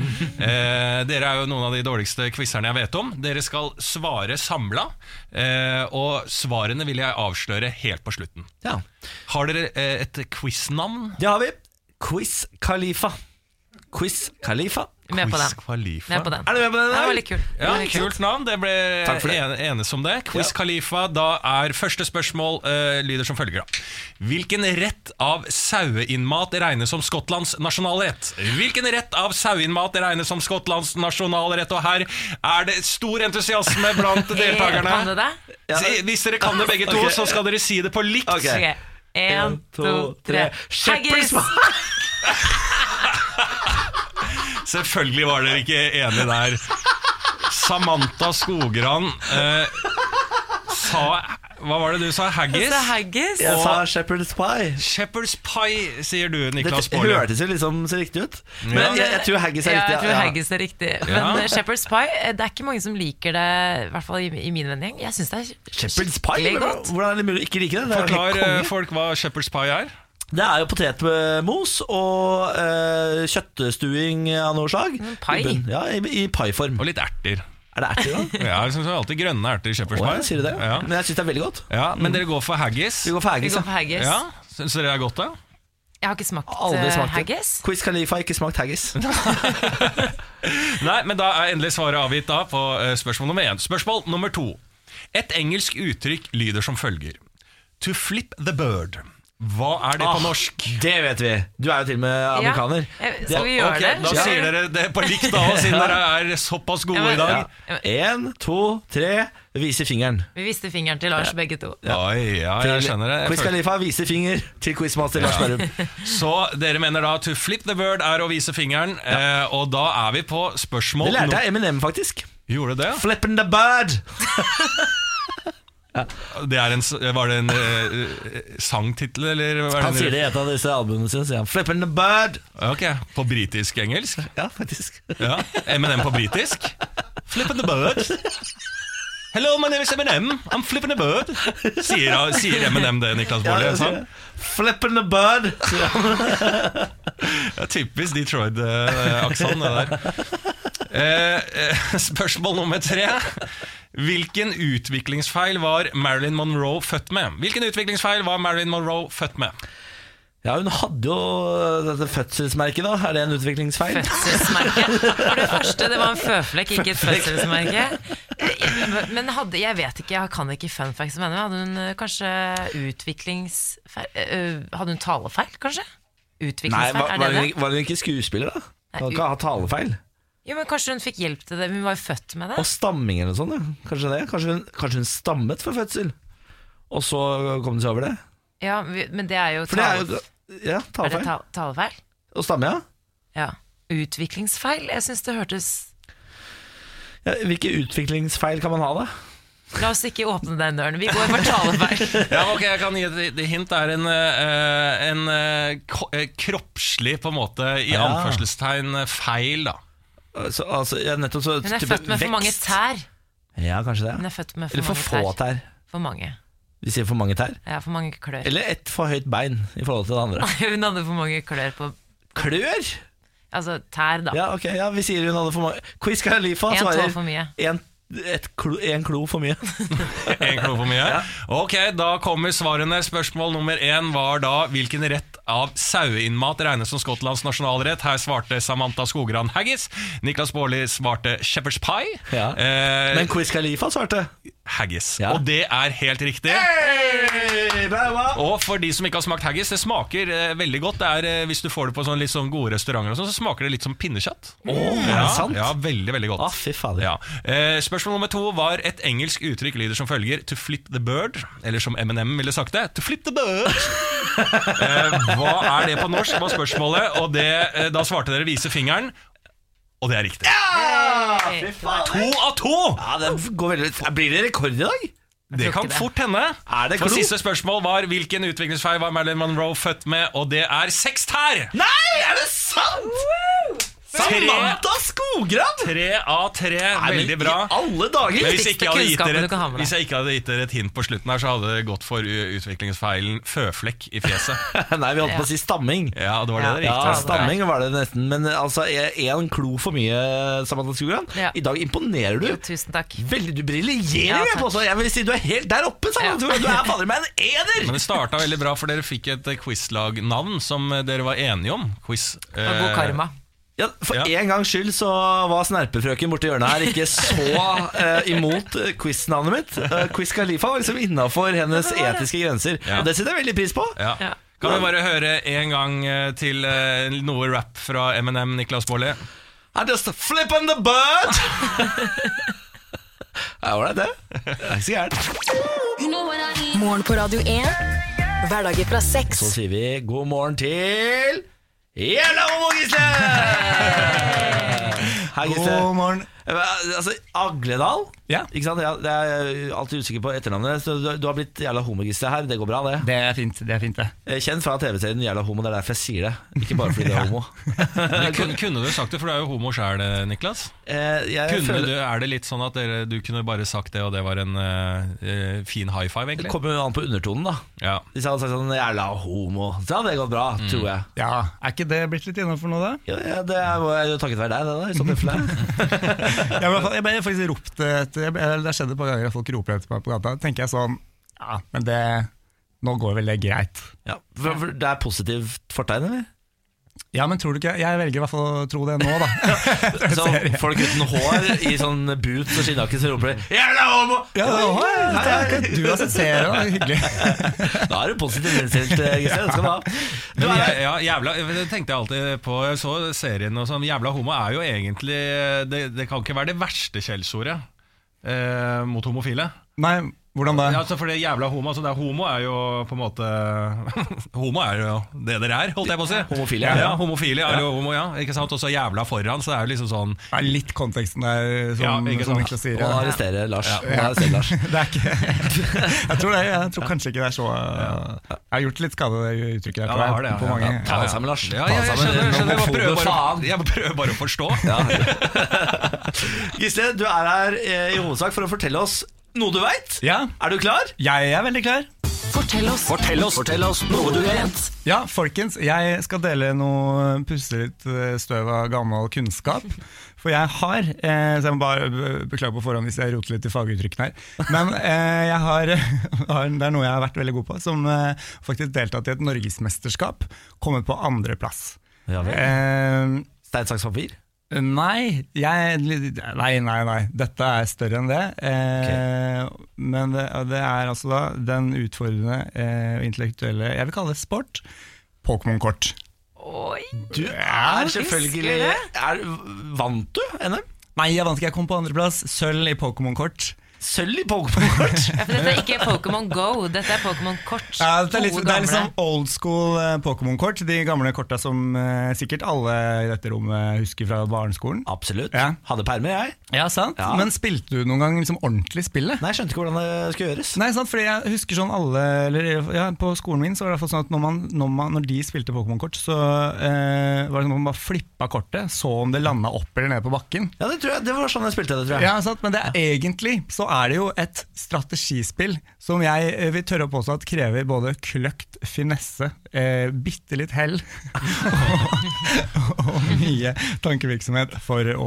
C: Eh, Dere er jo noen av de dårligste quizerne jeg vet om. Dere skal svare samla, eh, og svarene vil jeg avsløre helt på slutten.
A: Ja,
C: Har dere eh, et quiznavn?
A: det har vi. Quiz Khalifa. Quiz Khalifa.
B: Med på den.
C: Khalifa.
B: Med på den.
A: Er du med på den?
B: Det var
A: der?
B: veldig kult.
C: Ja, Kult navn. Det ble
A: Takk for det.
C: en- enes om det. Quiz
A: Ja.
C: Khalifa, da er første spørsmål eh, lyder som følger. da Hvilken rett av saueinnmat regnes som Skottlands nasjonalrett? Hvilken rett av saueinnmat regnes som Skottlands nasjonalrett? Og her er det stor entusiasme
B: (laughs) Eh, Kan
C: blant
B: du
C: deltakerne.
B: det?
C: Si- Hvis dere kan det begge to, så skal dere si det på likt.
A: Ok.
B: Ok. En, to, tre.
A: Shepherd's
B: Haggis!
C: Selvfølgelig var dere ikke enige der. Samantha Skogran eh, sa Hva var det du sa? Haggis?
B: Det er haggis.
A: Jeg sa Shepherd's Pie.
C: Shepherd's pie, sier du,
A: Det
C: Niklas Baarli.
A: hørtes jo liksom så riktig ut. Men
C: Ja.
A: jeg, jeg tror haggis er
B: Ja,
A: riktig.
B: Jeg tror haggis er riktig. Men
C: Ja.
B: eh, Shepherd's pie, eh, det er ikke mange som liker det, i hvert fall i, i min vennegjeng. Jeg syns det er
A: Shepherd's pie?
B: skikkelig godt.
A: Hvordan er det mulig å ikke like det? det? er jo helt
C: Forklar
A: konge.
C: eh, folk hva shepherd's pie er.
A: Det er jo potetmos og eh, kjøttstuing av noe slag.
B: pai.
A: I bunn. Ja, i, i paiform.
C: Og litt erter.
A: Er det erter, da?
C: (laughs) Ja, jeg synes det er alltid grønne erter i shepherd's
A: Å,
C: pie.
A: ja, sier du det?
C: Ja.
A: Men jeg syns det er veldig godt.
C: ja, Men dere går for haggis.
A: Vi går for
B: Vi
A: haggis.
B: går for
A: ja.
B: haggis.
C: Ja, Syns dere det er godt, da?
B: Jeg har ikke smakt,
A: Aldri
B: eh,
A: smakt det.
B: haggis.
A: Quiz Khalifa har ikke smakt haggis.
C: Nei, men da er endelig svaret avgitt da på eh, spørsmål nummer én. Spørsmål nummer to. Et engelsk uttrykk lyder som følger. To flip the bird. Hva er det
A: Ah,
C: på norsk?
A: Det vet vi. Du er jo til og med amerikaner.
B: Ja. Eh, Skal vi gjøre
C: Ok,
B: det?
C: Da sier dere det på likt, da,
A: (laughs)
C: siden dere er såpass
B: Ja,
C: gode
B: men-
C: i dag.
A: Ja. En, to, tre. Viser fingeren.
B: Vi viste fingeren til Lars, begge to.
C: Oi, ja, jeg skjønner det. Jeg
A: Quiz
C: føler-
A: Khalifa viser finger til quizmaster Lars Berrum.
C: (laughs) Så dere mener da to flip the bird er å vise fingeren, eh, og da er vi på spørsmål
A: Det lærte jeg Eminem, faktisk.
C: no- Gjorde det? ja?
A: Flippin' the bird!
C: det er en, s- var det en eh, sangtittel, eller? hva er
A: Han
C: det-
A: sier det i et av disse albumene sine. Sier han 'Flippin' the bird'.
C: Ok, på britisk-engelsk?
A: Ja, faktisk.
C: Ja. Eminem på britisk? Flippin' the bird. Hello, my name is Eminem. I'm flippin' the bird. Sier, sier Eminem det, Niklas
A: Ja,
C: Baarli?
A: det sier
C: sånn?
A: jeg. Flippin' the bird.
C: Ja, typisk Detroit-aksent, det der. Eh, eh, spørsmål nummer tre. Hvilken utviklingsfeil var Marilyn Monroe født med? Hvilken utviklingsfeil var Marilyn Monroe født med?
A: Ja, hun hadde jo dette fødselsmerket, da. Er det en utviklingsfeil?
B: Fødselsmerke. For det første, det var en føflekk, ikke et fødselsmerke. Eh, Men hadde, jeg vet ikke, jeg kan ikke fun facts om henne. Hadde hun eh, kanskje utviklingsfeil eh, Hadde hun talefeil, kanskje?
A: Nei,
B: Utviklingsfeil,
A: var,
B: er
A: var,
B: det
A: hun,
B: det?
A: ikke- var hun ikke skuespiller, da? Hun
B: Nei,
A: kan ikke ha talefeil.
B: Jo, men Kanskje hun fikk hjelp til det? Hun var jo født med det?
A: Og stamming eller noe sånt. Ja. Kanskje det kanskje hun, kanskje hun stammet for fødsel, og så kom hun seg over det?
B: Ja, vi- Men det er jo,
A: For det er
B: tale-
A: jo Ja,
B: er det
A: talefeil.
B: ta- talefeil.
A: Og stamme, ja.
B: Ja. Utviklingsfeil? Jeg syns det hørtes
A: ja. Hvilke utviklingsfeil kan man ha, da?
B: La oss ikke åpne den døren. Vi går for talefeil.
C: Ja, ok, jeg kan gi et lite hint. Det er en, eh, en eh, ko- eh, kroppslig, på en måte, i
A: Ja.
C: anførselstegn, eh, feil, da.
A: Altså, altså, ja, nettopp så
B: Hun er
A: type
B: født med for mange
A: vekst.
B: tær.
A: Ja, kanskje det.
B: Hun
A: Ja.
B: er født med for
A: Eller for få
B: mange tær.
A: tær.
B: For mange.
A: Vi sier for mange tær.
B: Ja, for mange klør.
A: Eller et for høyt bein i forhold til det andre.
B: (laughs) Hun hadde for mange klør på
A: Klør!
B: Altså tær, da.
A: Ja, altså, ok, ja, vi sier hun hadde for mange Quiz Khalifa
B: En tå
A: svarer
B: for mye.
A: en, et klo, en klo for mye.
C: En klo for mye. Ok, da kommer svarene. Spørsmål nummer én var da hvilken rett av saueinnmat regnes som Skottlands nasjonalrett. Her svarte Samantha Skogran haggis. Niklas Baarli svarte shepherd's pie.
A: Ja.
C: Eh,
A: Men Quiz Khalifa svarte.
C: haggis.
A: Ja.
C: Og det er helt riktig. Og for de som ikke har smakt haggis, det smaker eh, veldig godt. Det er, eh, hvis du får det på sånn, litt sånn gode restauranter, og sånn, så smaker det litt som pinnekjøtt.
A: er det sant? Ah,
C: Ja, veldig, veldig godt.
A: Å, fy fader.
C: Ja. Eh, spørsmål nummer to var et engelsk uttrykk lyder som følger To flip the bird, eller som Eminem ville sagt det To flip the bird eh, Hva er det på norsk, var spørsmålet Og det, eh, da svarte dere vise fingeren Og det er riktig To av to
A: Ja, det går veldig Blir det rekord i dag?
C: Det
B: tror ikke
C: kan
B: det.
C: fort hende
A: Er det
C: For
A: klokt?
C: siste spørsmål var Hvilken utviklingsfeil var Marilyn Monroe født med Og det er seks tær
A: Nei, er det sant?! Samantha Skogran!
C: Tre av tre,
A: Nei, men
C: veldig bra
A: I alle dager!
C: Men hvis, ikke jeg hadde gitt
B: kunnskapen
C: dere
B: du kan ha med
C: et,
B: deg.
C: hvis jeg ikke hadde gitt dere et hint på slutten her, så hadde det gått for u- utviklingsfeilen føflekk i (laughs) fjeset.
A: Nei, vi holdt på å si stamming.
C: Ja, det var det det
A: Ja,
C: gikk for.
A: stamming var det nesten, men altså én klo for mye, Samantha Skogran.
B: Ja.
A: I dag imponerer du.
B: Jo, tusen takk.
A: Veldig, Du briljerer,
B: Ja,
A: jeg
B: takk.
A: påstår. Jeg vil si du er helt der oppe, Samantha Skogran. Du er fader meg en
C: Men
A: eder!
C: det starta veldig bra, for dere fikk et eh, quizlagnavn som eh, dere var enige om. Quiz. eh,
B: Og god karma.
A: Ja, for
C: Ja.
A: en gangs skyld så var snerpefrøken borti hjørnet her ikke så eh, imot eh, quiz-navnet mitt. Eh, quiz Khalifa var liksom innafor hennes etiske grenser,
C: Ja.
A: og det setter jeg veldig pris på.
C: Ja.
B: Ja.
C: Kan vi bare høre en gang eh, til eh, noe rap fra Eminem, Niklas Baarli?
A: I just flip on the bird! (laughs) Ja, var det det? Det er ikke så gærent.
D: Morgen på Radio 1. Hverdager fra
A: Så
D: seks.
A: sier vi god morgen til Gjerland og Gisle! Hei, Gisle.
C: morgen.
A: Eh, Altså, Agledal?
E: Ja.
A: Ikke sant? Jeg jeg er alltid usikker på etternavnet. Så du, du har blitt jævla homo-Gisle her. Det går bra, det.
E: Det er fint, det er fint det.
A: Eh, Kjent fra TV-serien Jævla homo. Det er derfor jeg sier det. Ikke bare fordi
C: (laughs)
A: det er homo.
C: Kunne, kunne du sagt det, for du er jo homo sjæl, Niklas.
A: Eh, jeg
C: Kunne
A: føler-
C: du, er det litt sånn at dere, du kunne bare sagt det, og det var en eh, eh, fin high five,
A: Det
C: egentlig?
A: kommer jo an på undertonen, da.
C: Ja.
A: Hvis jeg hadde sagt sånn jævla homo, så hadde det gått bra,
C: Mm.
A: tror jeg.
E: Ja, Er ikke det blitt litt innafor nå, da?
A: Ja, ja, det er jo takket være deg, det da, i så
C: (laughs)
A: tilfelle.
G: Jeg ble, jeg ble faktisk ropt etter jeg ble, eller Det skjedde et par ganger at folk roper etter meg på gata. Da tenker jeg sånn Ja, men det Nå går vel det greit.
A: Ja, for, for det er positivt fortegn,
C: (laughs)
A: eller?
G: Ja, men tror du ikke Jeg velger i hvert fall å tro det nå, da.
A: Så folk uten hår i sånn boots og skinnjakke som roper de, Jævla homo!
G: (laughs) ja, det var, det er ikke du har sett serien, det er hyggelig.
A: Da er du positivt innstilt, Gisle. Det skal du
C: (laughs)
A: ha. Du
C: Men
A: er,
C: jæ- ja, jævla, det tenkte jeg alltid på Jeg så serien og sånn Jævla homo er jo egentlig eh, Det, det kan ikke være det verste kjeldsordet eh, Mot homofile
G: Nei, hvordan da?
C: ja, altså, For det jævla homo altså, det er, Homo er jo på en måte (laughs) Homo er jo det dere er, holdt jeg på å si
A: Homofile,
C: ja,
A: ja.
C: ja, homofile er jo homo, ja Ikke sant? Og så jævla foran, så det er jo liksom sånn
G: Det er litt konteksten der,
C: Ja,
G: som,
C: ikke
G: som
C: sant.
G: Niklas sier.
A: og
G: Ja.
A: arrestere Lars. Og arrestere Lars.
G: Det er ikke (laughs) jeg tror, det, jeg tror kanskje ikke det er så Jeg har gjort litt skade, det uttrykket der.
C: Ja,
G: tror
C: det
G: jeg,
C: har det, ja,
G: på
C: ja.
G: mange.
C: Ja,
A: Ta deg sammen, Lars.
C: Ja,
A: Ta
C: ja
A: deg
C: jeg
A: sammen,
C: skjønner, jeg skjønner Jeg bare
A: homofobe
C: prøver bare,
A: faen.
C: jeg prøver bare å forstå
A: (laughs) Gisle, du er her eh, i hovedsak for å fortelle oss noe du veit.
G: Ja,
A: Er du klar?
G: jeg er veldig klar.
D: Fortell oss.
F: Fortell oss, fortell oss noe du vet.
G: Ja, folkens, jeg skal dele noe pusse litt eh, støv av gammel kunnskap. For jeg har eh, Så jeg må bare be- beklage på forhånd hvis jeg roter litt i faguttrykkene her. Men eh, jeg har, (laughs) har Det er noe jeg har vært veldig god på, som eh, faktisk deltatt i et norgesmesterskap. Kommet på andreplass.
A: Ja vel.
G: Eh,
A: Stein, saks, papir.
G: Nei, jeg, nei, nei, nei. Dette er større enn det. Eh, Men det, det er altså da den utfordrende eh, intellektuelle Jeg vil kalle det sport. Pokémon-kort.
B: Oi,
A: Du er selvfølgelig
B: selvfølgelig-
A: er, Vant du NM?
G: Nei, jeg vant ikke. Jeg kom på andreplass. Sølv i Pokémon-kort.
A: Sølv i
G: (laughs)
A: Pokémon-kort?
B: ja, for dette er ikke Pokémon Go, dette er Pokémon Kort.
G: Ja, det, er litt,
B: Gode,
G: det er
B: gamle.
G: liksom old school eh, Pokémon-kort. De gamle korta som eh, sikkert alle i dette rommet husker fra barneskolen.
A: Absolutt.
G: Ja.
A: Hadde permer, jeg.
G: Ja, sant?
A: Ja.
G: Men spilte du noen gang liksom ordentlig spillet?
A: Nei, skjønte ikke hvordan det skulle gjøres.
G: Nei, sant, fordi jeg husker sånn alle eller, ja, På skolen min så var det i hvert fall sånn at når, man, når, man, når de spilte Pokémon-kort, så eh, var det sånn at man bare flippa kortet, så om det landa opp eller ned på bakken.
A: Ja, det, tror jeg, det var sånn jeg spilte det, tror jeg.
G: Ja, sant, Men det er, egentlig så er det jo et strategispill som jeg eh, vil tørre å påstå at krever både kløkt, finesse, eh, bitte litt hell (laughs) og, og mye tankevirksomhet for å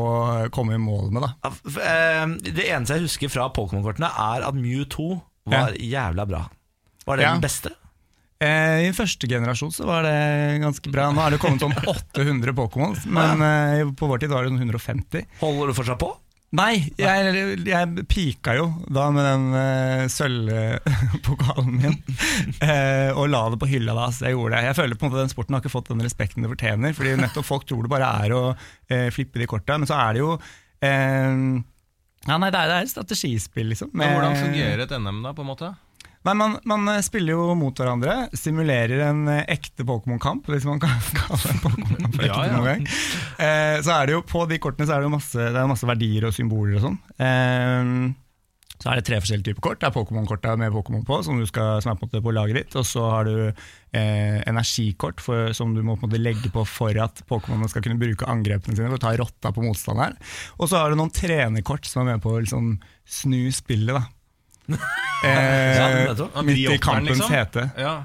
G: komme i mål med, da.
A: Ja, f- eh, Det eneste jeg husker fra Pokémon-kortene, er at Mew 2 var jævla bra. Var det
G: Ja.
A: den beste?
G: Eh, I første generasjon så var det ganske bra. Nå er det kommet om 800 Pokémon, men eh, på vår tid var det sånn 150.
A: Holder du fortsatt på?
G: Nei, jeg, jeg pika jo da med den eh, sølvpokalen
C: (laughs)
G: min, eh, og la det på hylla da. Så jeg gjorde det. Jeg føler på en måte den sporten har ikke fått den respekten det fortjener, fordi nettopp folk tror det bare er å eh, flippe de korta, men så er det jo eh, ja, nei, det er, det er et strategispill, liksom.
C: Men
G: med-
C: hvordan fungerer et NM da, på en måte?
G: Nei, man, man eh, spiller jo mot hverandre, simulerer en eh, ekte Pokémon-kamp, hvis man kan (laughs) kalle en Pokémon-kamp ekte
C: Ja, ja.
G: noen gang. Eh, så er det jo, på de kortene så er det jo masse, det er masse verdier og symboler og sånn. Eh, så er det tre forskjellige typer kort. Det er Pokémon-korta med Pokémon på, som, du skal, som er på, en måte på laget ditt. Og så har du eh, energikort for, som du må på en måte legge på for at Pokémonene skal kunne bruke angrepene sine for å ta rotta på motstanderen. Og så har du noen trenerkort som er med på å liksom, snu
B: (laughs)
G: spillet, da. Eh,
A: nettopp.
G: midt i
C: Biopperen,
G: kampens
C: liksom.
G: hete.
C: Ja,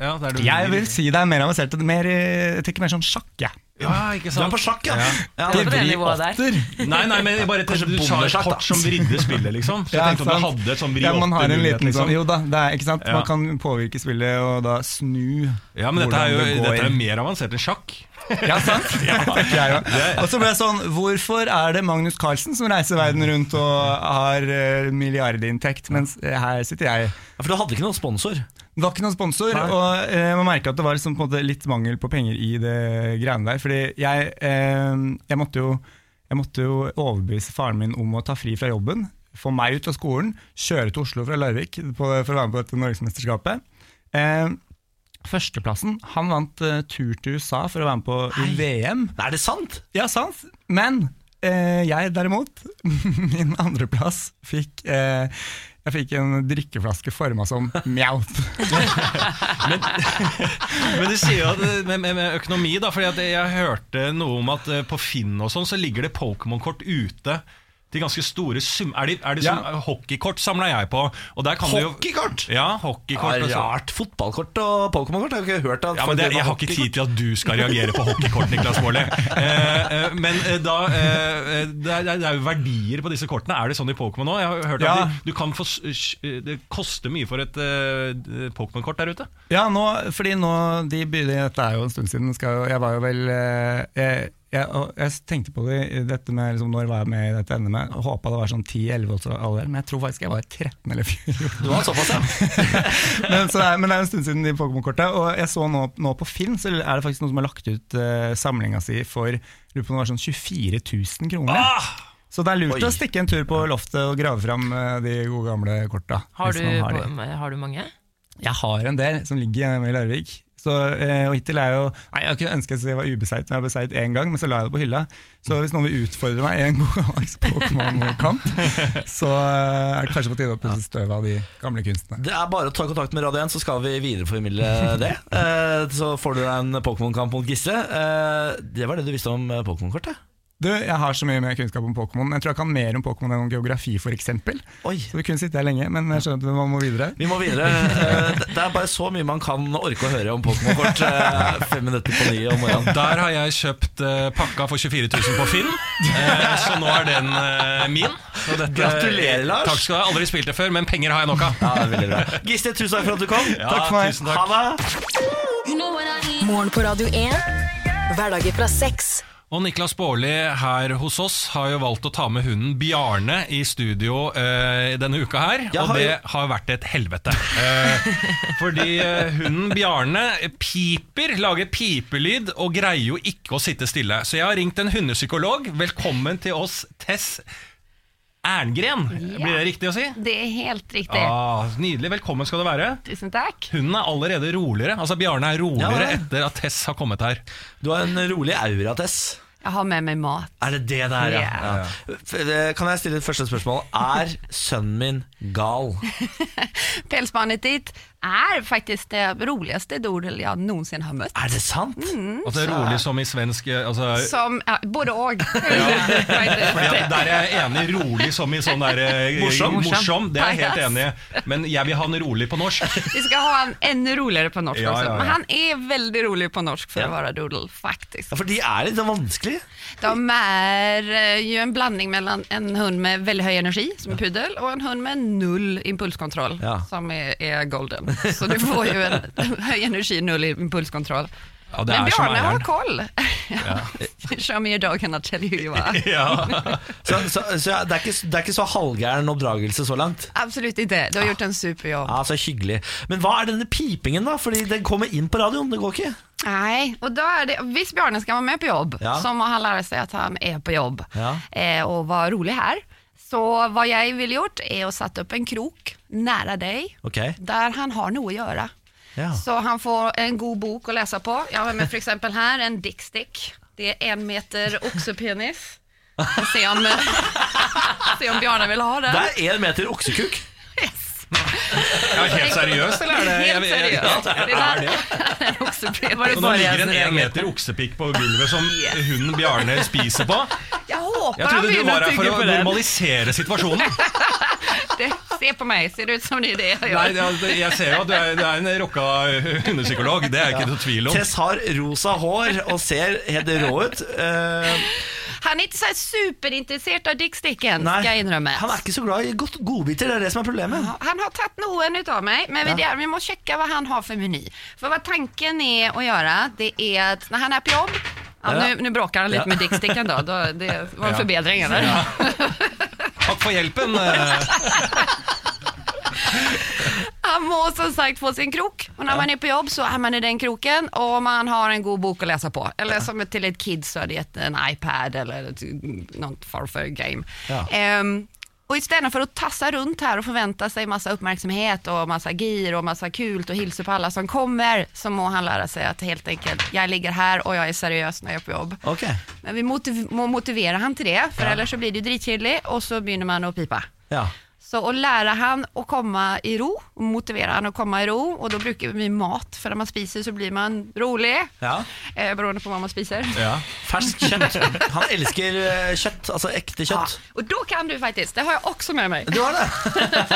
C: ja det er du
G: Jeg vil si det er mer avansert. det er Mer, eh, jeg tenker mer sånn sjakk, jeg.
C: Ja, ikke
A: Du
C: sant
A: er på sjakk, ja.
C: Ja.
A: ja.
B: Det er på det
G: Vri
B: nivået der.
G: åtter.
C: Nei, nei, men bare
A: Kanskje
C: du sa et
A: bommesjakk, da.
C: kort som vridde spillet, liksom. Så jeg
G: Ja,
C: tenkte om du
G: sant.
C: hadde et sånn vri
G: Ja, man har en
C: åtte-mulighet,
G: liten sånn
C: liksom.
G: Jo da, det er, ikke sant?
C: Ja.
G: man kan påvirke spillet og da snu
C: Ja, men dette er jo
G: hvordan det går.
C: dette er mer avansert enn sjakk.
G: (laughs) Ja, sant? Tenker jeg jo. Og så ble jeg sånn Hvorfor er det Magnus Carlsen som reiser verden rundt og har eh, milliardinntekt, mens eh, her sitter jeg?
A: For du hadde ikke noen sponsor.
G: Det var ikke noen sponsor, og eh, man merka at det var liksom på en måte litt mangel på penger i det greiene der. Fordi jeg, eh, jeg, måtte jo, jeg måtte jo overbevise faren min om å ta fri fra jobben, få meg ut av skolen, kjøre til Oslo fra Larvik på, for å være med på dette norgesmesterskapet. Eh, førsteplassen Han vant eh, tur til USA for å være med på VM.
A: Nei, er det sant?
G: Ja, sant. Men eh, jeg derimot, (laughs) min andreplass, fikk eh, jeg fikk en drikkeflaske forma som mjaut.
C: Men du sier jo at eh, med, med, med økonomi, da. For jeg hørte noe om at eh, på Finn og sånn, så ligger det Pokémon-kort ute til ganske store sum... Er det, er det
G: Ja.
C: som hockeykort samla jeg på? Og der kan Du jo,
A: Hockeykort!
C: ja, hockeykort
A: Ja,
C: men så-
A: rart. Fotballkort og Pokémon-kort har jeg ikke hørt. At
C: Ja, men det, Jeg har ikke tid til at du skal reagere på hockeykort, Niklas Baarli. Eh, eh, men eh, da eh, eh, det, er, det er jo verdier på disse kortene. Er det sånn i Pokémon nå? Jeg har hørt at
G: Ja.
C: de, du kan få, s- s- Det koster mye for et eh, Pokémon-kort der ute.
G: Ja, nå, fordi nå de begynner, Dette er jo en stund siden. Skal, jo- jeg var jo vel eh, jeg, jeg, og jeg tenkte på det, dette med liksom, når var jeg med i dette NM-et. Håpa det var sånn 10-11 års alder, men jeg tror faktisk jeg var 13
B: (laughs)
G: eller 14.
A: Du har såpass, ja.
G: men, så det er, men det er en stund siden de Pokémon-korta. Og jeg så nå, nå på Finn, så er det faktisk noen som har lagt ut eh, samlinga si for lurer på om det var sånn 24 000 kroner.
B: Ah!
G: Så det er lurt
A: Oi.
G: å stikke en tur på loftet og grave fram eh, de gode gamle korta.
B: Har
G: hvis
B: du,
G: man de.
B: har du mange?
G: Jeg har en del som ligger hjemme i Larvik. Så, eh, og hittil er jeg jo Nei, jeg kunne ønske at jeg var ubeseiret, men jeg har beseiret én gang. Men så la jeg det på hylla. Så hvis noen vil utfordre meg i en god gammeldags Pokémon-kamp, så eh, er det kanskje på tide å pusse støvet av de gamle kunstene.
A: Det er bare å ta kontakt med Radio 1, så skal vi videreformidle
C: (laughs)
A: det. Eh, Så får du deg en Pokémon-kamp mot Gisle. Eh, Det var det du visste om eh, Pokémon-kortet.
G: Du, jeg har så mye mer kunnskap om Pokémon. Jeg tror jeg kan mer om Pokémon enn om geografi, f.eks. Så
A: Oi.
G: vi kunne sittet her lenge, men jeg skjønner at man må videre.
A: Vi må videre. Eh, Det er bare så mye man kan orke å høre om Pokémon-kort. eh, Fem minutter på ni om morgenen.
C: Der har jeg kjøpt eh, pakka for 24 000 på Finn, eh, så nå er den eh, min. Så dette-
A: Gratulerer, Lars.
C: Takk skal du ha. Aldri spilt det før, men penger har jeg nok av.
A: Ja, det er veldig bra. Gisle, tusen takk for at du kom.
C: Ja,
G: Takk for meg.
C: Tusen takk.
A: Ha det.
D: Morgen på Radio 1. Hverdager fra seks.
C: Og Niklas Baarli her hos oss har jo valgt å ta med hunden Bjarne i studio eh, denne uka her.
A: Jeg
C: og
A: har jo-
C: det har vært et helvete. Eh, fordi eh, hunden Bjarne piper, lager pipelyd og greier jo ikke å sitte stille. Så jeg har ringt en hundepsykolog. Velkommen til oss, Tess Erngren. Blir det riktig å si?
H: Det er helt riktig.
C: Ah, nydelig. Velkommen skal du være.
H: Tusen takk.
C: Hunden er allerede roligere. Altså Bjarne er roligere
A: Ja, ja.
C: etter at Tess har kommet her.
A: Du har en rolig aura, Tess.
H: Jeg har med meg mat.
A: Er det det der, ja?
H: Ja.
A: ja. F- eh, Kan jeg stille et første spørsmål? Er sønnen min gal?
H: Pälsbarnet ditt er faktisk det roligste doodle jeg noensinne har møtt.
A: Er det sant?
H: Mm.
C: Altså rolig som i svensk eh, altså,
H: Som ja, Både
C: (laughs)
H: og. Faktisk.
C: Fordi at Der er jeg enig. Rolig som i sånn der
H: (laughs)
C: eh,
A: Morsom.
C: morsom. Det er jeg helt enig i. Men jeg vil ha den rolig på norsk.
H: Vi skal ha han enda roligere på norsk
C: Ja,
H: også.
C: ja, ja.
H: Men han er veldig rolig på norsk for
A: Ja.
H: å være doodle, faktisk.
A: Ja, for de er litt sånn vanskelig.
H: De er eh, jo en blanding mellom en hund med veldig høy energi, som er puddel, og en hund med null impulskontroll,
A: Ja.
H: som er, er golden. Så du får jo en (laughs) høy energi, null impulskontroll.
C: Ja, det
H: Men
C: er som
H: Bjarne har
C: eieren.
H: koll. (laughs) Show me your dog and I'll tell you who you
C: (laughs)
H: are.
C: Ja.
A: Så, så, så det, er ikke, det er ikke så halvgæren oppdragelse så langt.
H: Absolutt ikke. Du har gjort en superjobb.
A: Ja, så hyggelig. Men hva er denne pipingen, da? Fordi den kommer inn på radioen, det går ikke.
H: Nei, og da er det, Hvis Bjarne skal være med på jobb,
A: Ja.
H: så må han lære seg at han er på jobb,
A: Ja.
H: eh, og være rolig her. Så hva jeg ville gjort, er å sette opp en krok nære deg,
A: Ok,
H: der han har noe å gjøre.
A: ja.
H: Så han får en god bok å lese på. Jeg har med for eksempel her en dickstick. Det er én meter oksepenis. Får Se om, (laughs) se om Bjarne vil ha den.
A: Det er én meter oksekuk.
C: Ja, helt seriøst, eller? Er det,
H: Helt
C: jeg- jeg-
H: seriøst.
C: Ja, det er det. Og nå ligger en én meter oksepikk på gulvet som hunden Bjarne spiser på.
H: Jeg håper
C: Jeg
H: han
C: trodde du var
H: begynner å
C: her for
H: tygge
C: å
H: på den.
C: normalisere situasjonen.
H: Det- Se på meg, ser det ut som det er det jeg
C: Nei,
H: gjør?
C: det er- altså, Jeg ser jo at du er, du er en rocka eh, hundepsykolog. Det er jeg ikke noe tvil om.
A: Tess har rosa hår og ser helt rå ut. Eh,
H: Han er ikke så superinteressert av dicksticken,
A: nei,
H: skal jeg innrømme.
A: han er ikke så glad i godt godbiter, det er det som er problemet.
H: Han har tatt noen ut av meg, men vi, det, vi må sjekke hva han har for meny. For hva tanken er å gjøre, det er at når han er på jobb ja,
A: Ja.
H: Nu, nu bråkar han litt
A: Ja.
H: med dicksticken da, da, det var en
C: Ja.
H: forbedring eller? (laughs) Ja.
C: Takk for hjelpen. eh.
H: Han må som sagt få sin krok. Og når man er på jobb, så er man i den kroken, og man har en god bok å lese på. Eller som til et kid, så er det et, en iPad eller et, noe farfar game.
A: Ja.
H: Ehm, og istället for å tasse rundt her og forvente seg masse oppmerksomhet og masse gir og masse kult og hilse på alle som kommer, så må han lære seg at helt enkelt, jeg ligger her og jeg er seriøs når jeg er på jobb.
A: Ok,
H: Men vi motiv må motivere han til det, for ellers så blir det jo dritkjedelig, og så begynner man å pipe.
A: ja
H: Så å lära han att komma i ro, och motivera han att komma i ro och då brukar vi mat, för när man spiser så blir man rolig,
A: Ja.
H: eh, beroende på vad man spiser.
A: Ferskt kjøtt. Han elsker eh, kjøtt, altså ekte kjøtt.
H: Och då kan du faktiskt, det har jag också med mig.
A: Du har det?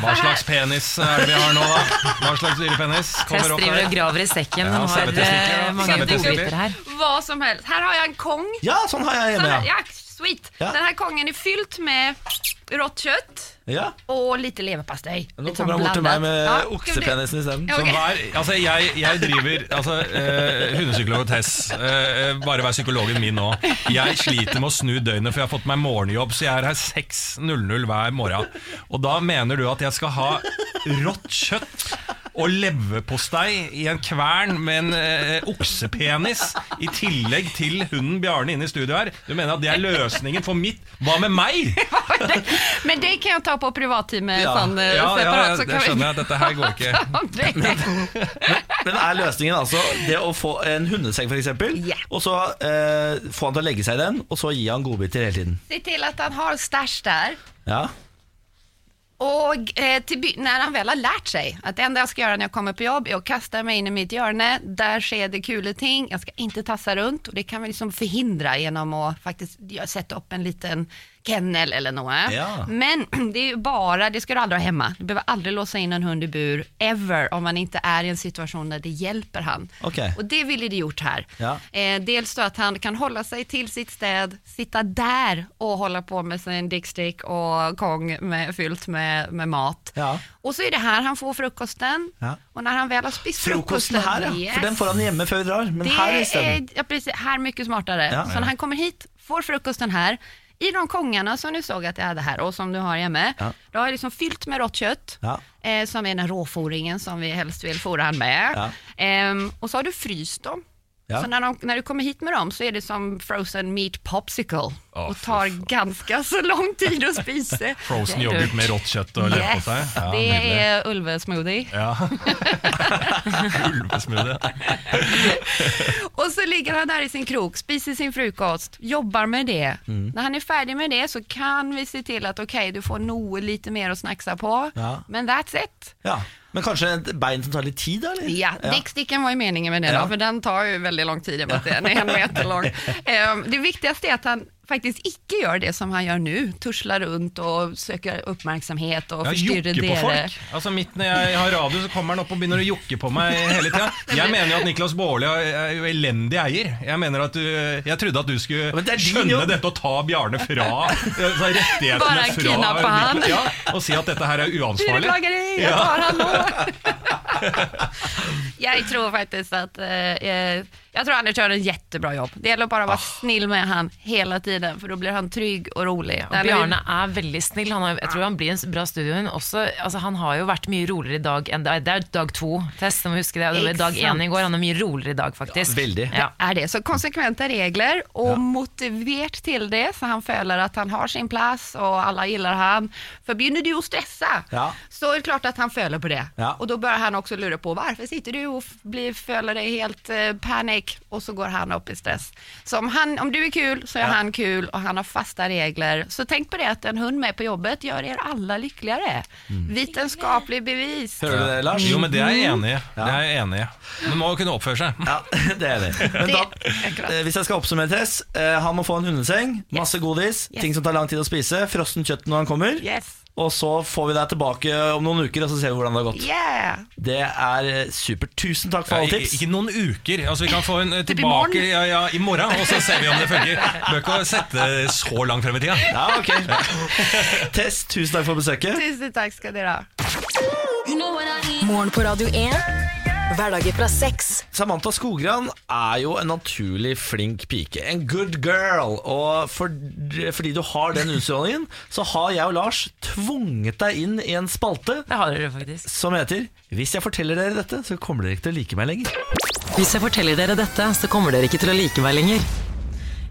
C: Hva slags penis er det vi har nå, da? Hva slags dyrepenis
B: Press
C: kommer opp
B: driver og
C: der?
B: graver i sekken.
C: Ja,
B: Han har
C: sauetestikler,
B: eh,
C: ja.
B: mange
C: Sauetestikler.
B: godbiter her.
H: Vad som helst. Här har jag en kong.
A: Ja, sånn har jeg
H: Så här,
A: hjemme, ja.
H: ja, sweet.
A: Ja.
H: Den här kongen är fylld med rått kött
A: ja.
H: och lite leverpastej.
A: Nå
H: Lite sån
A: kommer han bort til meg
H: blandat.
A: med
H: sånn Ja, ska vi-
A: oksepenisen isteden.
H: Ja,
C: Så
H: okej.
C: hver, altså jeg, jeg driver altså, eh, Hundepsykolog og Tess. Eh, eh, bare vær psykologen min nå. Jeg sliter med å snu døgnet, for jeg har fått meg morgenjobb. Så jeg er her 6.00 hver morgen. Og da mener du at jeg skal ha rått kjøtt og leverpostei i en kvern med en eh, oksepenis i tillegg til hunden Bjarne inne i studio her? Du mener at det er løsningen for mitt Hva med meg?
H: Men det kan jag ta på privatteamet
A: Ja.
H: sen, eh,
C: Ja, ja,
H: separat,
C: ja,
H: så
C: det
H: kan vi
C: skjønner jeg. Dette her går ikke.
H: (laughs) prata om
C: (laughs)
H: det.
A: Sånn. Men er løsningen altså det å få en hundeseng, for eksempel,
H: Ja.
A: og så eh, få han til å legge seg i den, og så gi han godbiter hele tiden?
H: Se till att han har stash där.
A: Ja.
H: Och eh, till by- när han väl har lärt sig att det enda jag ska göra när jag kommer på jobb är att kasta mig in i mitt hjörne, där sker det kul ting, jag ska inte tassa runt och det kan vi liksom förhindra genom att faktiskt ja, sätta upp en liten kennel eller något.
A: Ja.
H: Men (clears throat) det är ju bara, det ska du aldrig ha hemma, du behöver aldrig låsa in en hund i bur, ever, om man inte är i en situation där det hjälper han.
A: Okej.
H: Och det ville det gjort här.
A: Ja.
H: Eh, dels då att han kan hålla sig till sitt städ, sitta där och hålla på med sin dickstick och kong med, fyllt med, med mat.
A: Ja.
H: Och så är det här han får frukosten
A: Ja.
H: och när han väl har spist
A: Frokosten
H: frukosten,
A: her, ja. For den får han hjemme før vi drar. Men her
H: det
A: isteden.
H: är, ja, precis, här mycket smartare.
A: Ja.
H: så när han kommer hit, får frukosten här, i de kongarna som du såg att jag hade här och som du har hemma,
A: Ja.
H: då har jag liksom fyllt med rått kött,
A: Ja.
H: eh, som är den råforingen som vi helst vill fora han med.
A: Ja.
H: Ehm, och så har du fryst dem.
A: Ja.
H: Så när, de, när du kommer hit med dem så är det som frozen meat popsicle och tar ganska så lång tid att spisa.
C: Frozen yoghurt med rått kjøtt og
H: Yes,
C: leverpostei. Ja,
H: det är ulvesmoothie.
C: Ulvesmoothie.
H: Och så ligger han där i sin krok, spiser sin frukost, jobbar med det. När han är färdig med det så kan vi se till att okej, du får nog lite mer att snacksa på,
A: Ja.
H: men that's it.
A: Ja. Men kanskje et bein som tar litt tid, da? eller?
H: Ja, dicksticken var ju meningen med den,
A: Ja.
H: då, för den tar ju väldigt lång tid, i och med att den är en meter lång. Ehm, det viktigaste är att han faktiskt icke gör det som han gör nu, turslar runt och söker uppmärksamhet och
C: Ja,
H: förstyrrar
C: jokke på
H: dere.
C: folk. Altså Midt når jeg har radio, så kommer han opp og begynner å jokke på meg hele
H: (laughs)
C: tida. Jeg mener jo at Niklas Baarli er jo elendig eier. Jeg mener at du, jeg trodde at du skulle
A: men det er din
C: skjønne
A: jobb.
C: dette og ta Bjarne fra ta rettighetene
H: Bare
C: fra
H: kidnappe han.
C: Ja, og si at dette her er uansvarlig.
H: Dyrplageri, jeg tar han nå! jeg tror faktisk at eh, Jeg tror Anders gjør en jättebra jobb. Det gjelder bare å være snill med han hele tiden, for da blir han trygg og rolig.
B: Og Bjarne er veldig snill. Han har, jeg tror han blir en bra studiohund. Også, altså, han har jo vævært mye roligere i dag enn Det er dag to, Tess. Du må huske det. Det var dag én i går. Han er mye roligere i dag, faktisk.
A: Ja, veldig.
B: Ja.
H: er det. Så konsekvente regler og motivert til det, så han føler at han har sin plass og alle gillar han. For begynner du å stresse,
A: Ja.
H: så er det klart at han føler på det.
A: Ja.
H: Og da begynner han også lure på hvorfor sitter du og f- blir, føler deg helt eh, panikk, og så går han opp i stress. Så om, han, om du er kul, så er han kul, og han har faste regler. Så tenk på det at en hund med på jobbet gjør dere alle lykkeligere.
A: Mm.
H: Vitenskapelig bevis.
A: Hører du det, Lars?
C: Jo, men det er
H: Mm.
C: jeg enig i. Det er jeg enig i. Men må jo kunne oppføre seg.
A: Ja, (laughs) det er det. Men
H: Det-
A: da,
H: akkurat.
A: eh, hvis jeg skal oppsummere, Tess. eh, Han må få en hundeseng, masse godis, ting som tar lang tid å spise, frossen kjøtt når han kommer.
H: Yes.
A: Og så får vi deg tilbake om noen uker, og så ser vi hvordan det har gått.
H: Yeah!
A: Det er eh, supert. Tusen takk for alle
C: Ja, i-
A: tips.
C: Ikke noen uker. Altså, vi kan få en eh,
H: i
C: tilbake
H: morgen.
C: ja, ja, i morgen, og så ser vi om det funker. Bør ikke å sette så langt frem i tida.
A: Ja, ok (laughs) Tess, tusen takk for besøket.
H: Tusen takk skal dere ha.
D: Morgen på Radio 1. Hverdager fra seks.
A: Samantha Skogran er jo en naturlig flink pike. En good girl. Og for, fordi du har den utstrålingen, (laughs) så har jeg og Lars tvunget deg inn i en spalte
B: Det har dere faktisk.
A: som heter Hvis jeg forteller dere dette, så kommer dere ikke til å like meg lenger.
I: Hvis jeg forteller dere dette, så kommer dere ikke til å like meg lenger.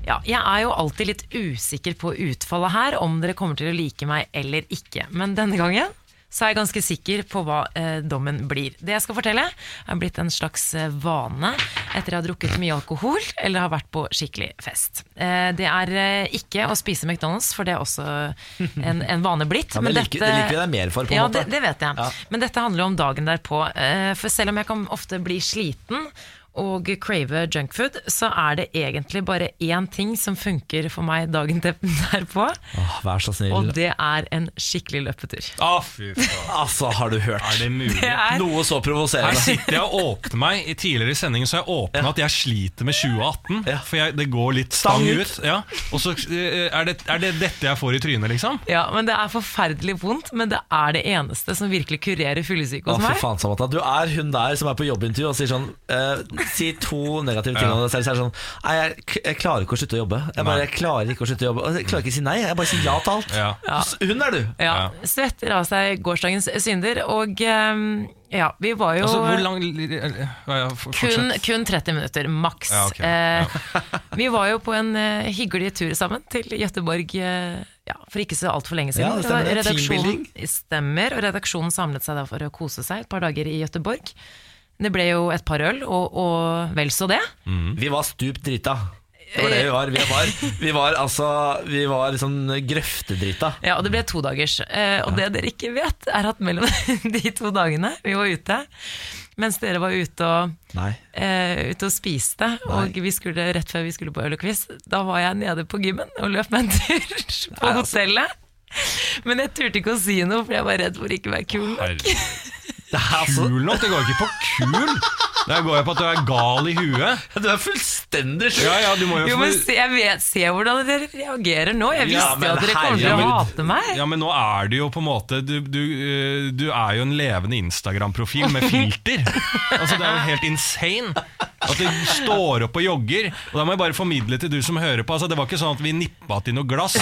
B: Ja, jeg er jo alltid litt usikker på utfallet her, om dere kommer til å like meg eller ikke. Men denne gangen så er jeg ganske sikker på hva eh, dommen blir. Det jeg skal fortelle, er blitt en slags eh, vane etter jeg har drukket mye alkohol eller har vært på skikkelig fest. Eh, det er eh, ikke å spise McDonald's, for det er også en, en vane blitt.
A: Ja, men det liker- det liker vi deg mer for, på en
B: ja,
A: måte.
B: Det, det vet jeg. Men dette handler jo om dagen derpå. eh, For selv om jeg kan ofte bli sliten og crave junkfood, så er det egentlig bare én ting som funker for meg dagen derpå,
A: Åh, vær så snill.
B: og det er en skikkelig løpetur.
C: Å, fy faen.
A: Altså, har du hørt?
C: Er det mulig?
B: Det er-
A: Noe så
C: Her
A: provoserende.
C: sitter jeg og åpner meg. I tidligere sendinger så har jeg åpna at jeg sliter med 2018. For jeg, det går litt stang,
A: Stang ut.
C: ut. Ja. Og så eh, er det, er det dette jeg får i trynet, liksom?
B: Ja, men Det er forferdelig vondt, men det er det eneste som virkelig kurerer fyllesyke
A: Å,
B: hos
A: fy
B: meg.
A: faen, Samantha. Du er hun der som er på jobbintervju og sier sånn eh, Si to negative ting om deg selv. Så er det sånn Nei, jeg, k- jeg klarer ikke å slutte å jobbe. Jeg bare jeg klarer ikke å slutte å jobbe. Og Jeg klarer ikke å si nei. Jeg bare sier ja til alt.
C: Ja.
A: Hun er du.
B: Ja, Svetter av seg gårsdagens synder, og ehm, ja, vi var jo
C: Altså, hvor lang ja, ja, for-
B: eh, kun,
C: fortsett.
B: kun 30 minutter, maks.
C: Ja, (laughs) ok.
B: Eh, vi var jo på en eh, hyggelig tur sammen til Gøteborg eh, ja, for ikke så altfor lenge siden.
A: Ja, det stemmer.
B: var
A: Det er
B: redaksjonen,
A: teambuilding.
B: stemmer, og redaksjonen samlet seg da for å kose seg et par dager i Gøteborg. Det ble jo et par øl, og, og vel så det.
A: Vi var stupt drita. Det var det vi var. Vi var, vi var altså Vi var sånn grøftedrita.
B: Ja, og det ble to dagers. Eh, og det dere ikke vet, er at mellom (laughs) de to dagene vi var ute, mens dere var ute og,
A: Nei.
B: eh, ute og spiste, og vi skulle, rett før vi skulle på øl og quiz, da var jeg nede på gymmen og løp meg en tur (laughs) på
A: altså.
B: hotellet. Men jeg turte ikke å si noe, for jeg var redd for ikke å være kul.
C: Herregud.
A: Det er altså
C: Kul nok? Det går ikke på kul! Der går jeg på at du er gal i huet.
A: Du er fullstendig sjuk.
C: Ja, ja, du må jo,
B: Jo,
C: få-
B: men se, jeg vet, se hvordan dere reagerer nå. Jeg
A: Ja,
B: visste
A: men
B: jo at dere kom
A: herre-
B: til å
A: Ja,
B: hate meg.
A: (laughs)
C: Ja, men nå er du jo på en måte Du, du, eh, du er jo en levende Instagram-profil med filter. Altså Det er jo helt insane at du står opp og jogger. Og Da må jeg bare formidle til du som hører på. Altså Det var ikke sånn at vi nippa til noe glass.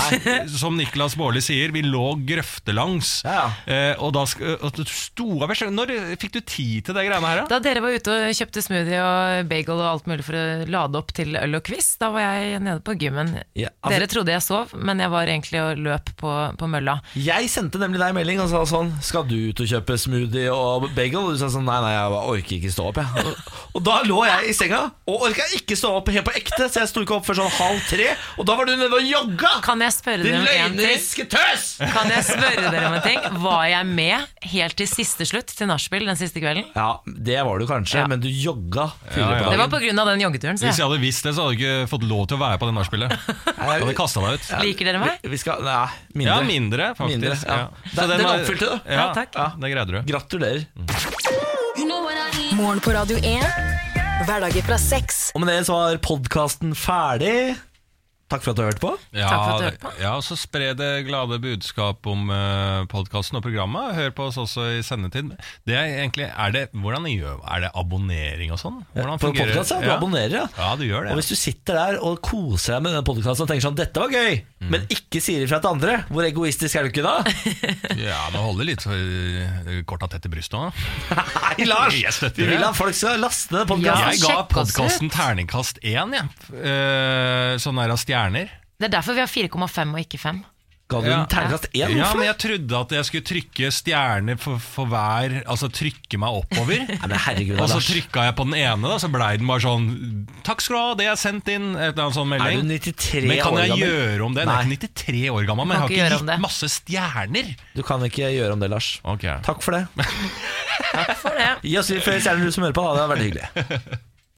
C: Som Niklas Baarli sier, vi lå grøftelangs.
A: Ja,
C: Eh, og da sk- og du sto av selv. Når fikk du tid til de greiene her,
B: Da
C: da?
B: dere var ute og kjøpte smoothie og bagel og alt mulig for å lade opp til øl og quiz, da var jeg nede på gymmen.
A: Ja, altså-
B: Dere trodde jeg sov, men jeg var egentlig og løp på, på mølla.
A: Jeg sendte nemlig deg en melding og sa sånn Skal du ut og kjøpe smoothie og bagel? Og du sa sånn Nei, nei, jeg bare orker ikke stå opp, jeg. Og, og da lå jeg i senga og orka ikke stå opp helt på ekte, så jeg sto ikke opp før sånn halv tre. Og da var du nede og jogga!
B: Kan jeg spørre
A: Din
B: dere om en ting?
A: løgneriske tøs!
B: Kan jeg spørre dere om en ting? Var jeg med helt til siste slutt til nachspiel den siste kvelden?
A: Ja, det var du kanskje,
B: Ja.
A: men du jogga
C: Ja,
A: tidligere
C: ja.
A: på
B: Det
A: dagen.
B: var pga. den joggeturen. Så
C: Hvis jeg
B: jeg.
C: hadde visst det, så hadde du ikke fått lov til å være på det nachspielet. Jeg hadde kasta deg ut.
B: Liker dere meg?
A: Vi, vi skal Nei, mindre.
C: Ja, mindre, faktisk.
A: Mindre, ja.
C: Så
A: Den- den
C: var-
A: oppfylte du.
C: Ja,
B: Ja, takk.
C: Ja, det greide du.
A: Gratulerer.
D: Morgen på Radio 1. Hverdager fra seks.
A: Og med det så var podkasten ferdig. Takk for at du har hørt på.
C: Ja,
B: Takk for at du hørte på.
C: Ja, og så spre det glade budskap om podkasten og programmet. Hør på oss også i sendetid. Det er egentlig, er det, hvordan gjør, er det abonnering og sånn? Hvordan
A: På podcast, ja, du abonnerer, ja.
C: Ja, du gjør det.
A: Og hvis du sitter der og koser deg med denne podkasten og tenker sånn 'dette var gøy', men ikke sier ifra til andre, hvor egoistisk er du ikke da?
C: Ja, men holde litt så, eh, korta tett i brystet nå.
A: Nei, Lars!
C: Jeg støtter
A: Vi vil
C: det.
A: at folk skal laste ned
B: Ja.
A: podkasten.
C: Jeg ga
B: sjekk oss
C: podkasten terningkast én, jeg. Eh, Sånn der av stjerner.
B: Det er derfor vi har 4,5 og ikke 5.
A: Ga du den
C: Ja.
A: terningkast én?
C: Ja,
A: Hvorfor?
C: men jeg trodde at jeg skulle trykke stjerner for, for hver Altså trykke meg
A: (laughs)
C: oppover.
A: Nei, men herregud,
C: Og så
A: Lars.
C: trykka jeg på den ene, da, så blei den bare sånn 'Takk skal du ha, det er sendt inn.' Et eller annet sånn
A: Er
C: melding.
A: du 93
C: men kan
A: år
C: jeg
A: gammel?
C: gjøre om det? Nei.
A: Nei.
C: Jeg er ikke 93 år gammel,
B: Kan
C: men jeg
B: ikke
C: har
B: gjøre
C: ikke
B: om
C: gitt
B: det.
C: masse stjerner.
A: Du kan ikke gjøre om det, Lars.
C: Ok
A: Takk for det.
B: For det.
A: Gi oss litt flere stjerner, du som hører på. Da. Det er veldig hyggelig.